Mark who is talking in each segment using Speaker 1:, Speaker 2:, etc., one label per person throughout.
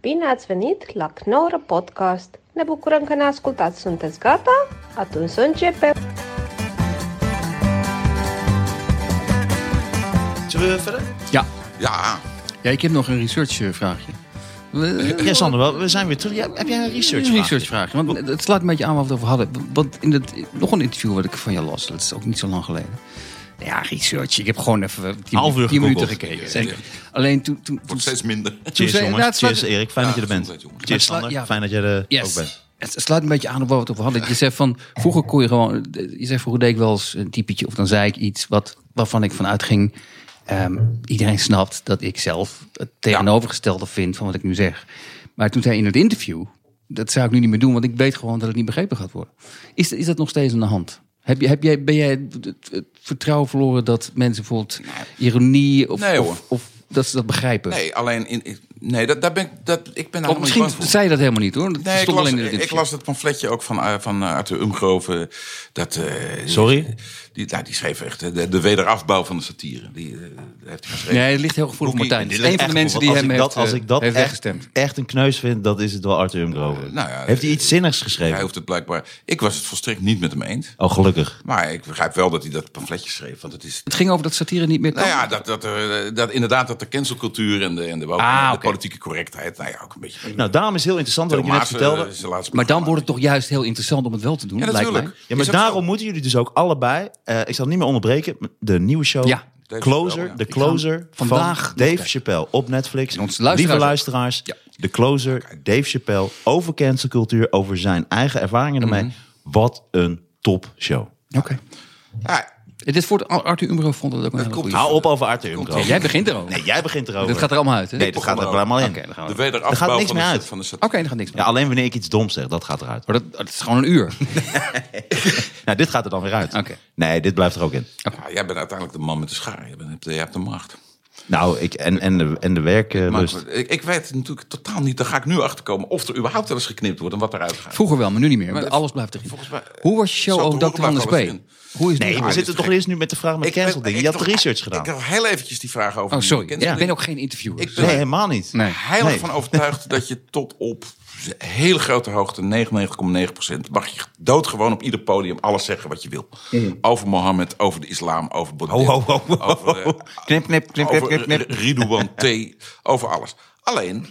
Speaker 1: Bine ați venit la Knorr Podcast! Ne bucurăm că ne ascultați! Sunteți gata? Atunci să începem!
Speaker 2: Zullen we verder?
Speaker 3: Ja.
Speaker 2: Ja.
Speaker 3: ja, ik heb nog een researchvraagje. Eh,
Speaker 2: Ja, Sander, wel, we zijn weer terug. Ja, heb jij een research?
Speaker 3: Een researchvraagje, want het slaat een beetje aan wat we het over hadden. Want in het, nog een interview wat ik van je las, dat is ook niet zo lang geleden. Ja, research. Ik heb gewoon even eh, tien,
Speaker 2: Half uur
Speaker 3: tien minuten
Speaker 2: gegoogeld.
Speaker 3: gekeken.
Speaker 4: Ja,
Speaker 3: Zeker.
Speaker 4: ja.
Speaker 3: Alleen toen... toen, toen
Speaker 4: Wordt steeds minder.
Speaker 2: Cheers,
Speaker 3: zei-
Speaker 2: jongens.
Speaker 3: ja, Nou, het slaat-
Speaker 2: Cheers, Erik. Fijn dat je er
Speaker 4: Ja,
Speaker 2: bent.
Speaker 4: gezondheid, jongens.
Speaker 2: Cheers,
Speaker 3: Het slaat-
Speaker 2: Sander.
Speaker 3: ja.
Speaker 2: Fijn dat jij er ook bent.
Speaker 3: Het het sluit een beetje aan op waar we het over hadden. Je zegt van, vroeger kon je gewoon... Je zegt, vroeger deed ik wel eens een typetje of dan zei ik iets wat, waarvan ik vanuit ging... ehm, iedereen snapt dat ik zelf het tegenovergestelde vind van wat ik nu zeg. Maar toen zei in het interview, dat zou ik nu niet meer doen... want ik weet gewoon dat het niet begrepen gaat worden. Is, is dat nog steeds aan de hand? Heb je, heb jij, ben jij het, het- het vertrouwen verloren dat mensen bijvoorbeeld ironie of,
Speaker 4: Nee, hoor.
Speaker 3: of, of dat ze dat begrijpen?
Speaker 4: Nee, alleen in, ik- nee, dat, daar ben ik, dat, ik ben daar
Speaker 3: Of
Speaker 4: helemaal niet
Speaker 3: Oh, misschien
Speaker 4: bang voor.
Speaker 3: zei je dat helemaal niet hoor. Dat
Speaker 4: Nee, ik
Speaker 3: stond
Speaker 4: las,
Speaker 3: alleen in
Speaker 4: ik,
Speaker 3: het interview.
Speaker 4: las het pamfletje ook van, eh, van eh, Arthur Umgroven. Dat, eh,
Speaker 2: Sorry?
Speaker 4: Die, nou, die schreef echt eh, de, de wederafbouw van de satire. Die, eh, dat heeft hij geschreven.
Speaker 3: Nee, het ligt heel gevoelig op
Speaker 4: Boekie,
Speaker 3: Martijn. Het is
Speaker 4: dit
Speaker 3: een van
Speaker 2: Echt,
Speaker 3: de mensen die
Speaker 2: want
Speaker 3: hem
Speaker 2: als ik dat,
Speaker 3: heeft, eh,
Speaker 2: als ik dat
Speaker 3: heeft
Speaker 2: echt,
Speaker 3: weggestemd. Oh,
Speaker 2: echt een kneus vind, dat is het wel Arthur Umgrover.
Speaker 4: nou ja,
Speaker 2: Heeft hij
Speaker 3: eh,
Speaker 2: iets zinnigs geschreven?
Speaker 4: Hij hoeft het blijkbaar. Ik was het volstrekt niet met hem eens.
Speaker 2: Oh, gelukkig.
Speaker 4: Maar ik begrijp wel dat hij dat pamfletje schreef. Want het is.
Speaker 3: Het ging over dat satire niet meer kan.
Speaker 4: Nou ja, dat, dat, er, eh, dat inderdaad dat de cancelcultuur en de, en de, woke-
Speaker 3: Ah,
Speaker 4: en de
Speaker 3: oké.
Speaker 4: politieke correctheid. Nou ja, ook een beetje.
Speaker 2: Nou, daarom is heel interessant wat ik je net
Speaker 4: Thomas, eh,
Speaker 2: vertelde.
Speaker 4: is de laatste
Speaker 3: maar dan
Speaker 4: programma.
Speaker 3: wordt het toch juist heel interessant om het wel te doen,
Speaker 4: Ja,
Speaker 3: lijkt mij.
Speaker 4: natuurlijk.
Speaker 2: Ja, maar
Speaker 4: Is ook zo.
Speaker 2: daarom moeten jullie dus ook allebei. eh, ik zal het niet meer onderbreken. De nieuwe show.
Speaker 3: Ja.
Speaker 4: Dave
Speaker 2: Closer.
Speaker 4: Chappelle, ja.
Speaker 2: De
Speaker 4: Ik
Speaker 2: Closer.
Speaker 3: ga vandaag
Speaker 2: vandaag.
Speaker 3: nog
Speaker 2: Dave
Speaker 3: kijken.
Speaker 2: Chappelle op Netflix.
Speaker 3: En onze luisteraars
Speaker 2: Lieve
Speaker 3: ook.
Speaker 2: luisteraars.
Speaker 3: Ja.
Speaker 2: De Closer. Dave Chappelle. Over cancelcultuur. Over zijn eigen ervaringen ermee.
Speaker 3: Mhm.
Speaker 2: Wat een top show.
Speaker 3: Oké.
Speaker 4: Ja,
Speaker 3: Het is voor het- Arthur Umbro vond dat ook een hele
Speaker 4: komt
Speaker 3: goede.
Speaker 2: Hou op over Arthur Umgrover.
Speaker 3: Jij begint erover.
Speaker 2: Nee, jij begint erover.
Speaker 3: dat gaat er allemaal uit, hè?
Speaker 2: Nee, dat gaat er allemaal in.
Speaker 3: Oké, dan gaan we.
Speaker 4: de
Speaker 3: Oké,
Speaker 4: wederafbouw
Speaker 2: Nou, Er gaat niks
Speaker 4: van,
Speaker 2: meer
Speaker 4: de,
Speaker 2: uit.
Speaker 4: van de satire.
Speaker 3: dan gaat niks meer.
Speaker 2: Ja, alleen wanneer ik iets doms zeg, dat gaat eruit.
Speaker 3: Maar dat, dat is gewoon een uur.
Speaker 2: Nou, dit gaat er dan weer uit.
Speaker 3: Oké.
Speaker 2: Nee, dit blijft er ook in.
Speaker 4: Ja, jij bent uiteindelijk de man met de schaar. Je, bent, jij hebt de macht.
Speaker 2: Nou, ik, en, en de, en de eh,
Speaker 4: Maar
Speaker 2: werklust.
Speaker 4: ik, ik weet natuurlijk totaal niet, daar ga ik nu achter komen of er überhaupt wel eens geknipt wordt en wat eruit gaat.
Speaker 3: Vroeger wel, maar nu niet meer. Maar alles blijft erin.
Speaker 4: volgens mij-
Speaker 3: Hoe was je show
Speaker 4: Zo te
Speaker 3: over
Speaker 4: horen
Speaker 3: Dr. Anders
Speaker 4: blijft alles
Speaker 3: B? Hoe is het nu?
Speaker 2: Nee, we
Speaker 4: dit is
Speaker 2: zitten toch
Speaker 4: gek.
Speaker 2: eerst nu met de vraag met
Speaker 4: ben-
Speaker 2: cancel dingen. Je
Speaker 4: ik
Speaker 2: had
Speaker 4: toch-
Speaker 2: research gedaan.
Speaker 4: Ik had heel eventjes die vraag over.
Speaker 3: Oh,
Speaker 4: die
Speaker 3: sorry.
Speaker 4: canceling.
Speaker 3: Ja, ik ben ook geen interviewer.
Speaker 4: Ik ben
Speaker 2: Nee, helemaal niet.
Speaker 3: Nee.
Speaker 4: heilig
Speaker 2: Nee.
Speaker 4: van overtuigd dat je tot op heel grote hoogte, 99,9 mag je doodgewoon op ieder podium alles zeggen wat je wil. Over Mohammed, over de islam, over Baudet,
Speaker 2: Mhm. Ho, ho, ho, ho.
Speaker 4: over, eh,
Speaker 2: Knip, knip, knip, knip, knip,
Speaker 4: over
Speaker 2: knip.
Speaker 4: Ridouan T, over alles. Alleen,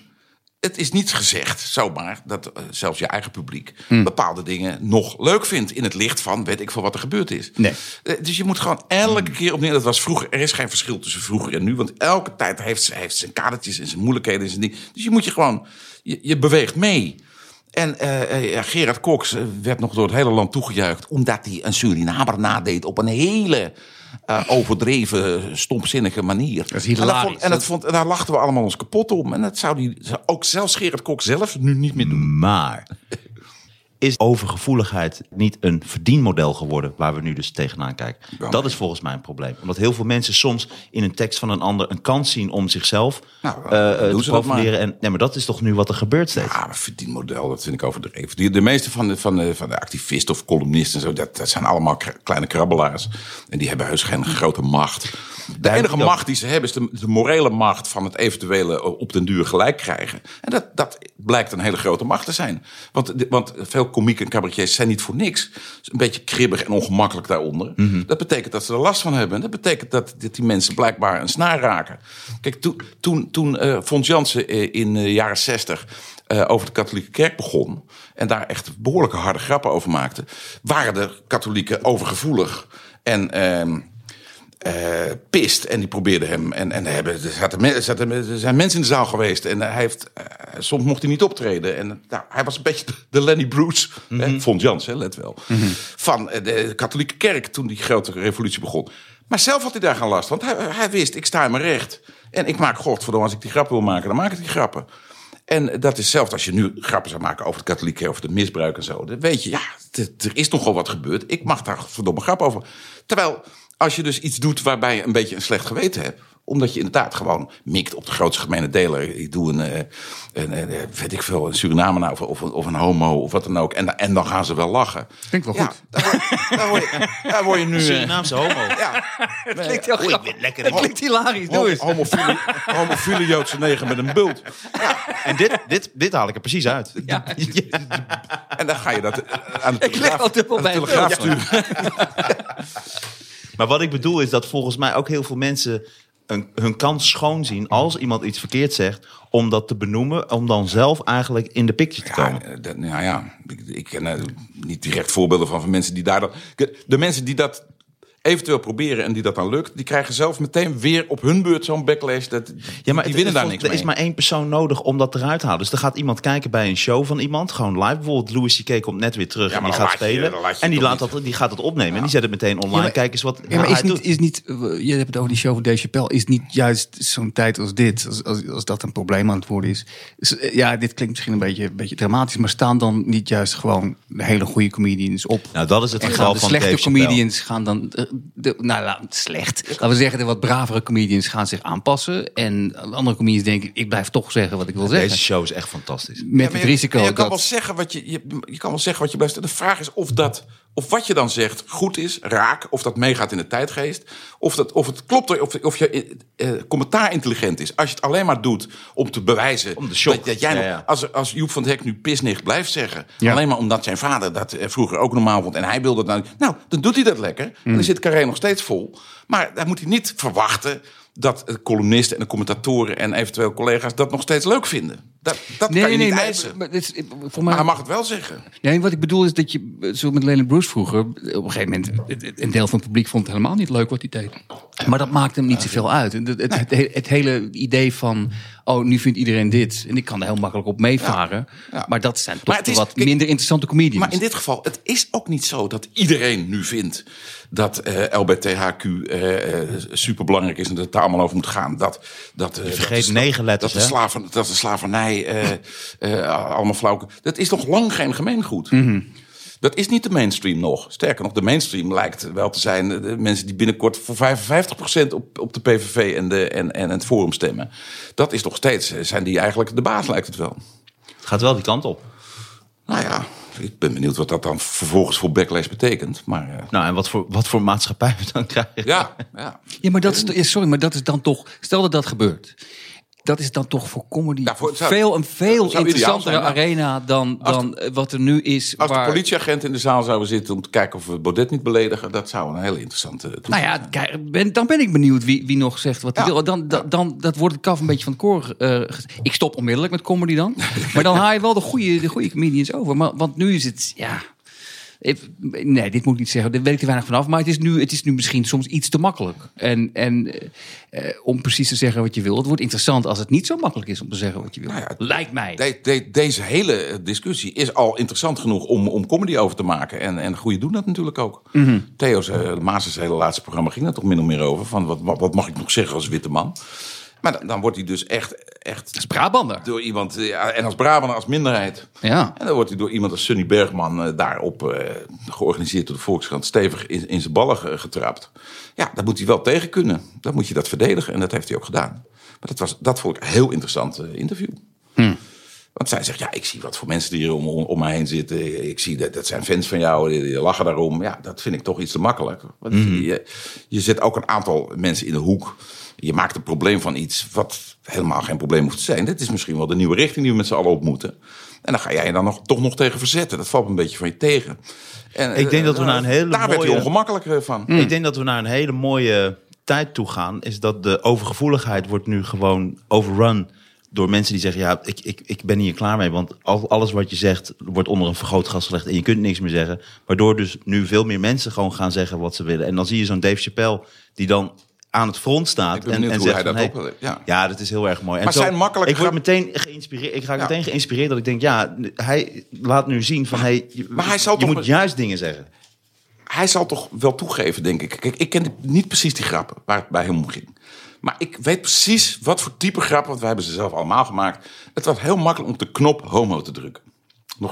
Speaker 4: het is niet gezegd, zomaar, dat eh, zelfs je eigen publiek bepaalde dingen nog leuk vindt. In het licht van, weet ik veel wat er gebeurd is.
Speaker 3: Nee.
Speaker 4: Eh, Dus je moet gewoon elke keer opnieuw, dat was vroeger, er is geen verschil tussen vroeger en nu. Want elke tijd heeft, ze- heeft zijn kadertjes en zijn moeilijkheden en zijn dingen. Dus je moet je gewoon, je, je beweegt mee. En eh, eh, ja, Gerard Cox eh, werd nog door het hele land toegejuicht... omdat hij een Surinamer nadeed op een hele eh, overdreven, stompzinnige manier.
Speaker 3: is hilarisch.
Speaker 4: En, dat vond- en, dat vond, en daar lachten we allemaal ons kapot om. En dat zou die, zou ook zelfs Gerard Cox zelf nu niet meer doen.
Speaker 2: Maar is overgevoeligheid niet een verdienmodel geworden waar we nu dus tegenaan kijken?
Speaker 4: Wel,
Speaker 2: Dat
Speaker 4: nee.
Speaker 2: is volgens mij een probleem. Omdat heel veel mensen soms in een tekst van een ander een kans zien om zichzelf
Speaker 4: Nou,
Speaker 2: eh,
Speaker 4: dan
Speaker 2: eh,
Speaker 4: doen
Speaker 2: te
Speaker 4: ze dat
Speaker 2: profileren. En, nee, maar dat is toch nu wat er gebeurt steeds?
Speaker 4: Ja, maar Ah, verdienmodel, dat vind ik overdreven. De, de meeste van de, van, de, van de activisten of columnisten, en zo, dat, dat zijn allemaal kra- kleine krabbelaars. En die hebben heus geen grote macht. De enige
Speaker 2: dat-
Speaker 4: macht die ze hebben is de, de morele macht van het eventuele eh, op den duur gelijk krijgen. En dat, dat blijkt een hele grote macht te zijn. Want, de- want veel komieken en cabaretiers zijn niet voor niks. Dus Een beetje kribbig en ongemakkelijk daaronder. Dat betekent dat ze er last van hebben. En Dat betekent dat, dat die mensen blijkbaar een snaar raken. Kijk, toen, toen, toen eh, Fons Jansen eh, in de jaren zestig eh, over de katholieke kerk begon... en daar echt behoorlijke harde grappen over maakte... waren de katholieken overgevoelig en ehm eh, pist. En die probeerden hem... En, en hebben, er, zaten, me- er zaten, er zijn mensen in de zaal geweest... en hij heeft, eh, soms mocht hij niet optreden. En nou, hij was een beetje de Lenny Bruce... hè, vond Jans, hè, let wel... van eh, de katholieke kerk toen die grote revolutie begon... Maar zelf had hij daar geen last, want hij, hij wist, ik sta in mijn recht. En ik maak, godverdomme, als ik die grappen wil maken, dan maak ik die grappen. En dat is hetzelfde als je nu grappen zou maken over de katholieke of de misbruik en zo. Dan weet je, ja, t- er is nogal wat gebeurd. Ik mag daar verdomme grap over. Terwijl, als je dus iets doet waarbij je een beetje een slecht geweten hebt. Omdat je inderdaad gewoon mikt op de grootste gemene deler. Ik doe een, eh, een, eh, weet ik veel, een Suriname nou, of, of, een- of een homo of wat dan ook. En, da- en dan gaan ze wel lachen.
Speaker 3: Klinkt wel
Speaker 4: Ja,
Speaker 3: goed.
Speaker 4: Daar word, daar word je, daar word je nu... eh,
Speaker 2: Surinaamse homo.
Speaker 4: ja,
Speaker 3: Het klinkt heel
Speaker 2: Oei, oh, ik ben Oh, lekker
Speaker 3: Het klinkt hilarisch, doe eens.
Speaker 4: homofiele, homofiele Joodse negen met een bult.
Speaker 2: En dit, dit, dit haal ik er precies uit.
Speaker 3: Ja,
Speaker 4: En dan ga je dat eh, aan de
Speaker 3: Ik lig
Speaker 4: telegraaf,
Speaker 3: al dubbel
Speaker 4: aan de
Speaker 3: bij een
Speaker 4: telegraaf
Speaker 3: bult, ja.
Speaker 4: sturen.
Speaker 2: Maar wat ik bedoel is dat volgens mij ook heel veel mensen een, hun kans schoon zien als iemand iets verkeerd zegt, om dat te benoemen, om dan zelf eigenlijk in de picture te komen.
Speaker 4: Ja, eh, dat, nou ja, ik, ik ken eh, niet direct voorbeelden van, van mensen die daar dan... De mensen die dat eventueel proberen en die dat dan lukt... die krijgen zelf meteen weer op hun beurt zo'n backlash. Dat, ja, maar die
Speaker 2: het-
Speaker 4: winnen daar
Speaker 2: vol-
Speaker 4: niks
Speaker 2: er
Speaker 4: mee.
Speaker 2: is maar één persoon nodig om dat eruit te halen. Dus er gaat iemand kijken bij een show van iemand, gewoon live. Bijvoorbeeld Louis C.K. komt net weer terug
Speaker 4: Ja,
Speaker 2: en
Speaker 4: maar
Speaker 2: die
Speaker 4: dan
Speaker 2: gaat
Speaker 4: laat je-
Speaker 2: spelen.
Speaker 4: dan laat je
Speaker 2: en die,
Speaker 4: toch
Speaker 2: laat
Speaker 4: niet-
Speaker 2: dat, die gaat het opnemen en die zet het meteen online.
Speaker 3: maar-
Speaker 2: Kijk eens wat
Speaker 3: Ja, maar
Speaker 2: hij
Speaker 3: is niet,
Speaker 2: doet.
Speaker 3: is niet, eh, je hebt het over die show van Dave Chappelle. Is niet juist zo'n tijd als dit, als, als, als dat een probleem aan het worden is. is, eh, ja, dit klinkt misschien een beetje, een beetje dramatisch, maar staan dan niet juist gewoon de hele goede comedians op?
Speaker 2: Nou, dat is het
Speaker 3: En gaan
Speaker 2: geval
Speaker 3: de
Speaker 2: van
Speaker 3: slechte
Speaker 2: Dave Chappelle.
Speaker 3: comedians gaan dan, eh, de, nou la- slecht, laten we zeggen de wat bravere comedians gaan zich aanpassen. En andere comedians denken, ik blijf toch zeggen wat ik wil zeggen.
Speaker 2: Deze show is echt fantastisch.
Speaker 3: Met
Speaker 4: Ja, maar
Speaker 3: het
Speaker 4: je-
Speaker 3: risico
Speaker 4: maar Je, kan
Speaker 3: dat...
Speaker 4: wel zeggen wat je, je, je kan wel zeggen wat je best. De vraag is of dat, of wat je dan zegt goed is, raak, of dat meegaat in de tijdgeest, of dat, of het klopt, of, of je eh, eh, commentaar intelligent is. Als je het alleen maar doet om te bewijzen
Speaker 2: de shock.
Speaker 4: dat, dat jij,
Speaker 2: Ja,
Speaker 4: nog-
Speaker 2: ja.
Speaker 4: als als Joep van het Hek nu pisnicht blijft zeggen,
Speaker 3: Ja.
Speaker 4: alleen maar omdat zijn vader dat eh, vroeger ook normaal vond en hij wilde dat, nou, nou, dan doet hij dat lekker. En
Speaker 3: Hmm.
Speaker 4: dan zit Carré nog steeds vol, maar daar moet hij niet verwachten. Dat eh, columnisten en de commentatoren en eventueel collega's dat nog steeds leuk vinden. Dat, dat kan je niet
Speaker 3: maar-
Speaker 4: eisen.
Speaker 3: maar dit is- eh, voor
Speaker 4: Maar
Speaker 3: mij
Speaker 4: hij mag het wel zeggen.
Speaker 3: Nee, wat ik bedoel is dat je, eh, zo met Lennon Bruce vroeger, op een gegeven moment, het- het- een deel van het publiek vond het helemaal niet leuk wat hij deed. Maar dat maakt hem niet zoveel uit. Het, het, het, he- het hele idee van, oh, nu vindt iedereen dit. En ik kan er heel makkelijk op meevaren.
Speaker 4: ja.
Speaker 3: Maar dat zijn
Speaker 4: Maar
Speaker 3: toch
Speaker 4: het
Speaker 3: de
Speaker 4: is-
Speaker 3: wat
Speaker 4: kijk,
Speaker 3: minder interessante comedians.
Speaker 4: Maar in dit geval, het is ook niet zo dat iedereen nu vindt dat eh LBTHQ eh, eh, superbelangrijk is en dat het daar allemaal over moet gaan. Dat, dat, eh,
Speaker 2: vergeet
Speaker 4: dat de sla-
Speaker 2: negen letters,
Speaker 4: Dat de,
Speaker 2: hè?
Speaker 4: slaven, dat de slavernij eh, eh, allemaal flauw. Dat is nog lang geen gemeengoed.
Speaker 2: Mhm.
Speaker 4: Dat is niet de mainstream nog. Sterker nog, de mainstream lijkt wel te zijn eh, de mensen die binnenkort voor 55% op, op de PVV en, de, en, en het Forum stemmen. Dat is nog steeds, eh, zijn die eigenlijk de baas, lijkt het wel.
Speaker 2: Het gaat wel die kant op.
Speaker 4: Nou ja, ik ben benieuwd wat dat dan vervolgens voor backlash betekent. Maar eh,
Speaker 2: Nou, en wat voor, wat voor maatschappij we dan krijgen.
Speaker 4: ja, ja.
Speaker 3: ja, maar dat is, ja, sorry, maar dat is dan toch, stel dat dat gebeurt. Dat is dan toch voor comedy
Speaker 4: Ja, voor- het zou-
Speaker 3: veel, een veel
Speaker 4: zou ideaal
Speaker 3: interessantere
Speaker 4: zijn, ja.
Speaker 3: arena dan, dan eh, wat er nu is.
Speaker 4: als
Speaker 3: waar-
Speaker 4: de politieagent in de zaal zouden zitten om te kijken of we Baudet niet beledigen, dat zou een hele interessante toekomst
Speaker 3: Nou ja, kijk, ben- dan ben ik benieuwd wie, wie nog zegt wat hij
Speaker 4: Ja.
Speaker 3: wil. Dan, dan, dan dat wordt het kaf een beetje van het koor. eh, ges- ik stop onmiddellijk met comedy dan. Maar dan haal je wel de goede, de goede comedians over. Maar, want nu is het, ja... ik- nee, dit moet ik niet zeggen. Daar weet ik te weinig vanaf. Maar het is nu, het is nu misschien soms iets te makkelijk. En, en eh, eh, om precies te zeggen wat je wil. Het wordt interessant als het niet zo makkelijk is om te zeggen wat je wil.
Speaker 4: Nou ja,
Speaker 3: Lijkt mij.
Speaker 4: De- de- deze hele eh, discussie is al interessant genoeg om, om comedy over te maken. En, en goede doen dat natuurlijk ook. Theo's eh, Maas's hele laatste programma ging daar toch min of meer over. Van wat, wat, wat mag ik nog zeggen als witte man? Maar dan, dan wordt hij dus echt, echt
Speaker 3: Dat is Brabander.
Speaker 4: door iemand, eh, ja, en als Brabander als minderheid.
Speaker 3: Ja.
Speaker 4: En dan wordt hij door iemand als Sunny Bergman eh, daarop, eh, georganiseerd door de Volkskrant, stevig in, in zijn ballen ge- getrapt. Ja, dat moet hij wel tegen kunnen. Dan moet je dat verdedigen en dat heeft hij ook gedaan. Maar dat, was, dat vond ik een heel interessant eh, interview. Want zij zegt, ja, ik zie wat voor mensen die hier om, om, om mij heen zitten. Ik zie dat, dat zijn fans van jou, die, die lachen daarom. Ja, dat vind ik toch iets te makkelijk. Want
Speaker 2: Mhm.
Speaker 4: je, je zet ook een aantal mensen in de hoek. Je maakt een probleem van iets wat helemaal geen probleem hoeft te zijn. Dit is misschien wel de nieuwe richting die we met z'n allen op moeten. En dan ga jij je dan nog, toch nog tegen verzetten. Dat valt een beetje van je tegen. En,
Speaker 2: Ik denk dat we
Speaker 4: eh,
Speaker 2: naar een hele
Speaker 4: Daar werd hij
Speaker 2: mooie-
Speaker 4: ongemakkelijk eh, van.
Speaker 2: Ik denk dat we naar een hele mooie tijd toe gaan. Is dat de overgevoeligheid wordt nu gewoon overrun door mensen die zeggen: Ja, ik, ik, ik ben hier klaar mee. Want al- alles wat je zegt wordt onder een vergrootglas gelegd en je kunt niks meer zeggen. Waardoor dus nu veel meer mensen gewoon gaan zeggen wat ze willen. En dan zie je zo'n Dave Chappelle die dan aan het front staat.
Speaker 4: Ik ben
Speaker 2: en,
Speaker 4: benieuwd
Speaker 2: en
Speaker 4: hoe
Speaker 2: zegt
Speaker 4: hij
Speaker 2: van,
Speaker 4: dat
Speaker 2: hey,
Speaker 4: op wil- ja.
Speaker 2: ja, dat is heel erg mooi. En
Speaker 4: Maar
Speaker 2: zo-
Speaker 4: zijn makkelijk
Speaker 2: ik, word
Speaker 4: grap-
Speaker 2: meteen geïnspireerd, ik raak
Speaker 4: Ja.
Speaker 2: meteen geïnspireerd dat ik denk: Ja, hij laat nu zien van hey, je,
Speaker 4: maar hij zal
Speaker 2: je
Speaker 4: toch
Speaker 2: moet
Speaker 4: met-
Speaker 2: juist dingen zeggen.
Speaker 4: hij zal toch wel toegeven, denk ik. Kijk, ik ken niet precies die grappen waar het bij hem om ging. Maar ik weet precies wat voor type grappen, want wij hebben ze zelf allemaal gemaakt. Het was heel makkelijk om op de knop homo te drukken.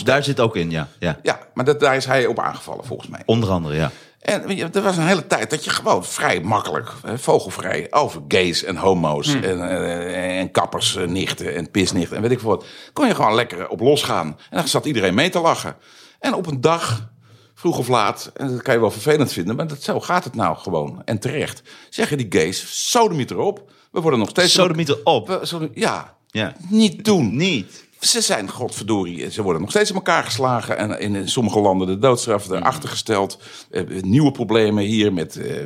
Speaker 2: Daar zit ook in, ja. ja.
Speaker 4: Ja, maar dat, daar is hij op aangevallen volgens mij.
Speaker 2: Onder andere, ja.
Speaker 4: En weet je, er was een hele tijd dat je gewoon vrij makkelijk, hè, vogelvrij, over gays en homo's en, eh, en kappersnichten en pisnichten en weet ik veel wat. Kon je gewoon lekker op losgaan. En dan zat iedereen mee te lachen. En op een dag, vroeg of laat, en dat kan je wel vervelend vinden, maar dat, zo gaat het nou gewoon. En terecht. Zeggen die gays, sodemiet erop. We worden nog steeds...
Speaker 2: Sodemieter op.
Speaker 4: We- sodem- ja,
Speaker 2: Ja.
Speaker 4: niet doen.
Speaker 2: Niet.
Speaker 4: Ze zijn, godverdorie, ze worden nog steeds in elkaar geslagen. En in sommige landen de doodstraf erachter gesteld. Eh, nieuwe problemen hier met eh,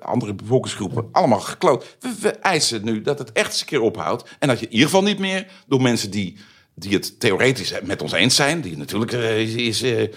Speaker 4: andere bevolkingsgroepen. Allemaal gekloot. We, we eisen nu dat het echt eens een keer ophoudt. En dat je in ieder geval niet meer door mensen die, die het theoretisch met ons eens zijn. Die natuurlijk eh, is, is eh,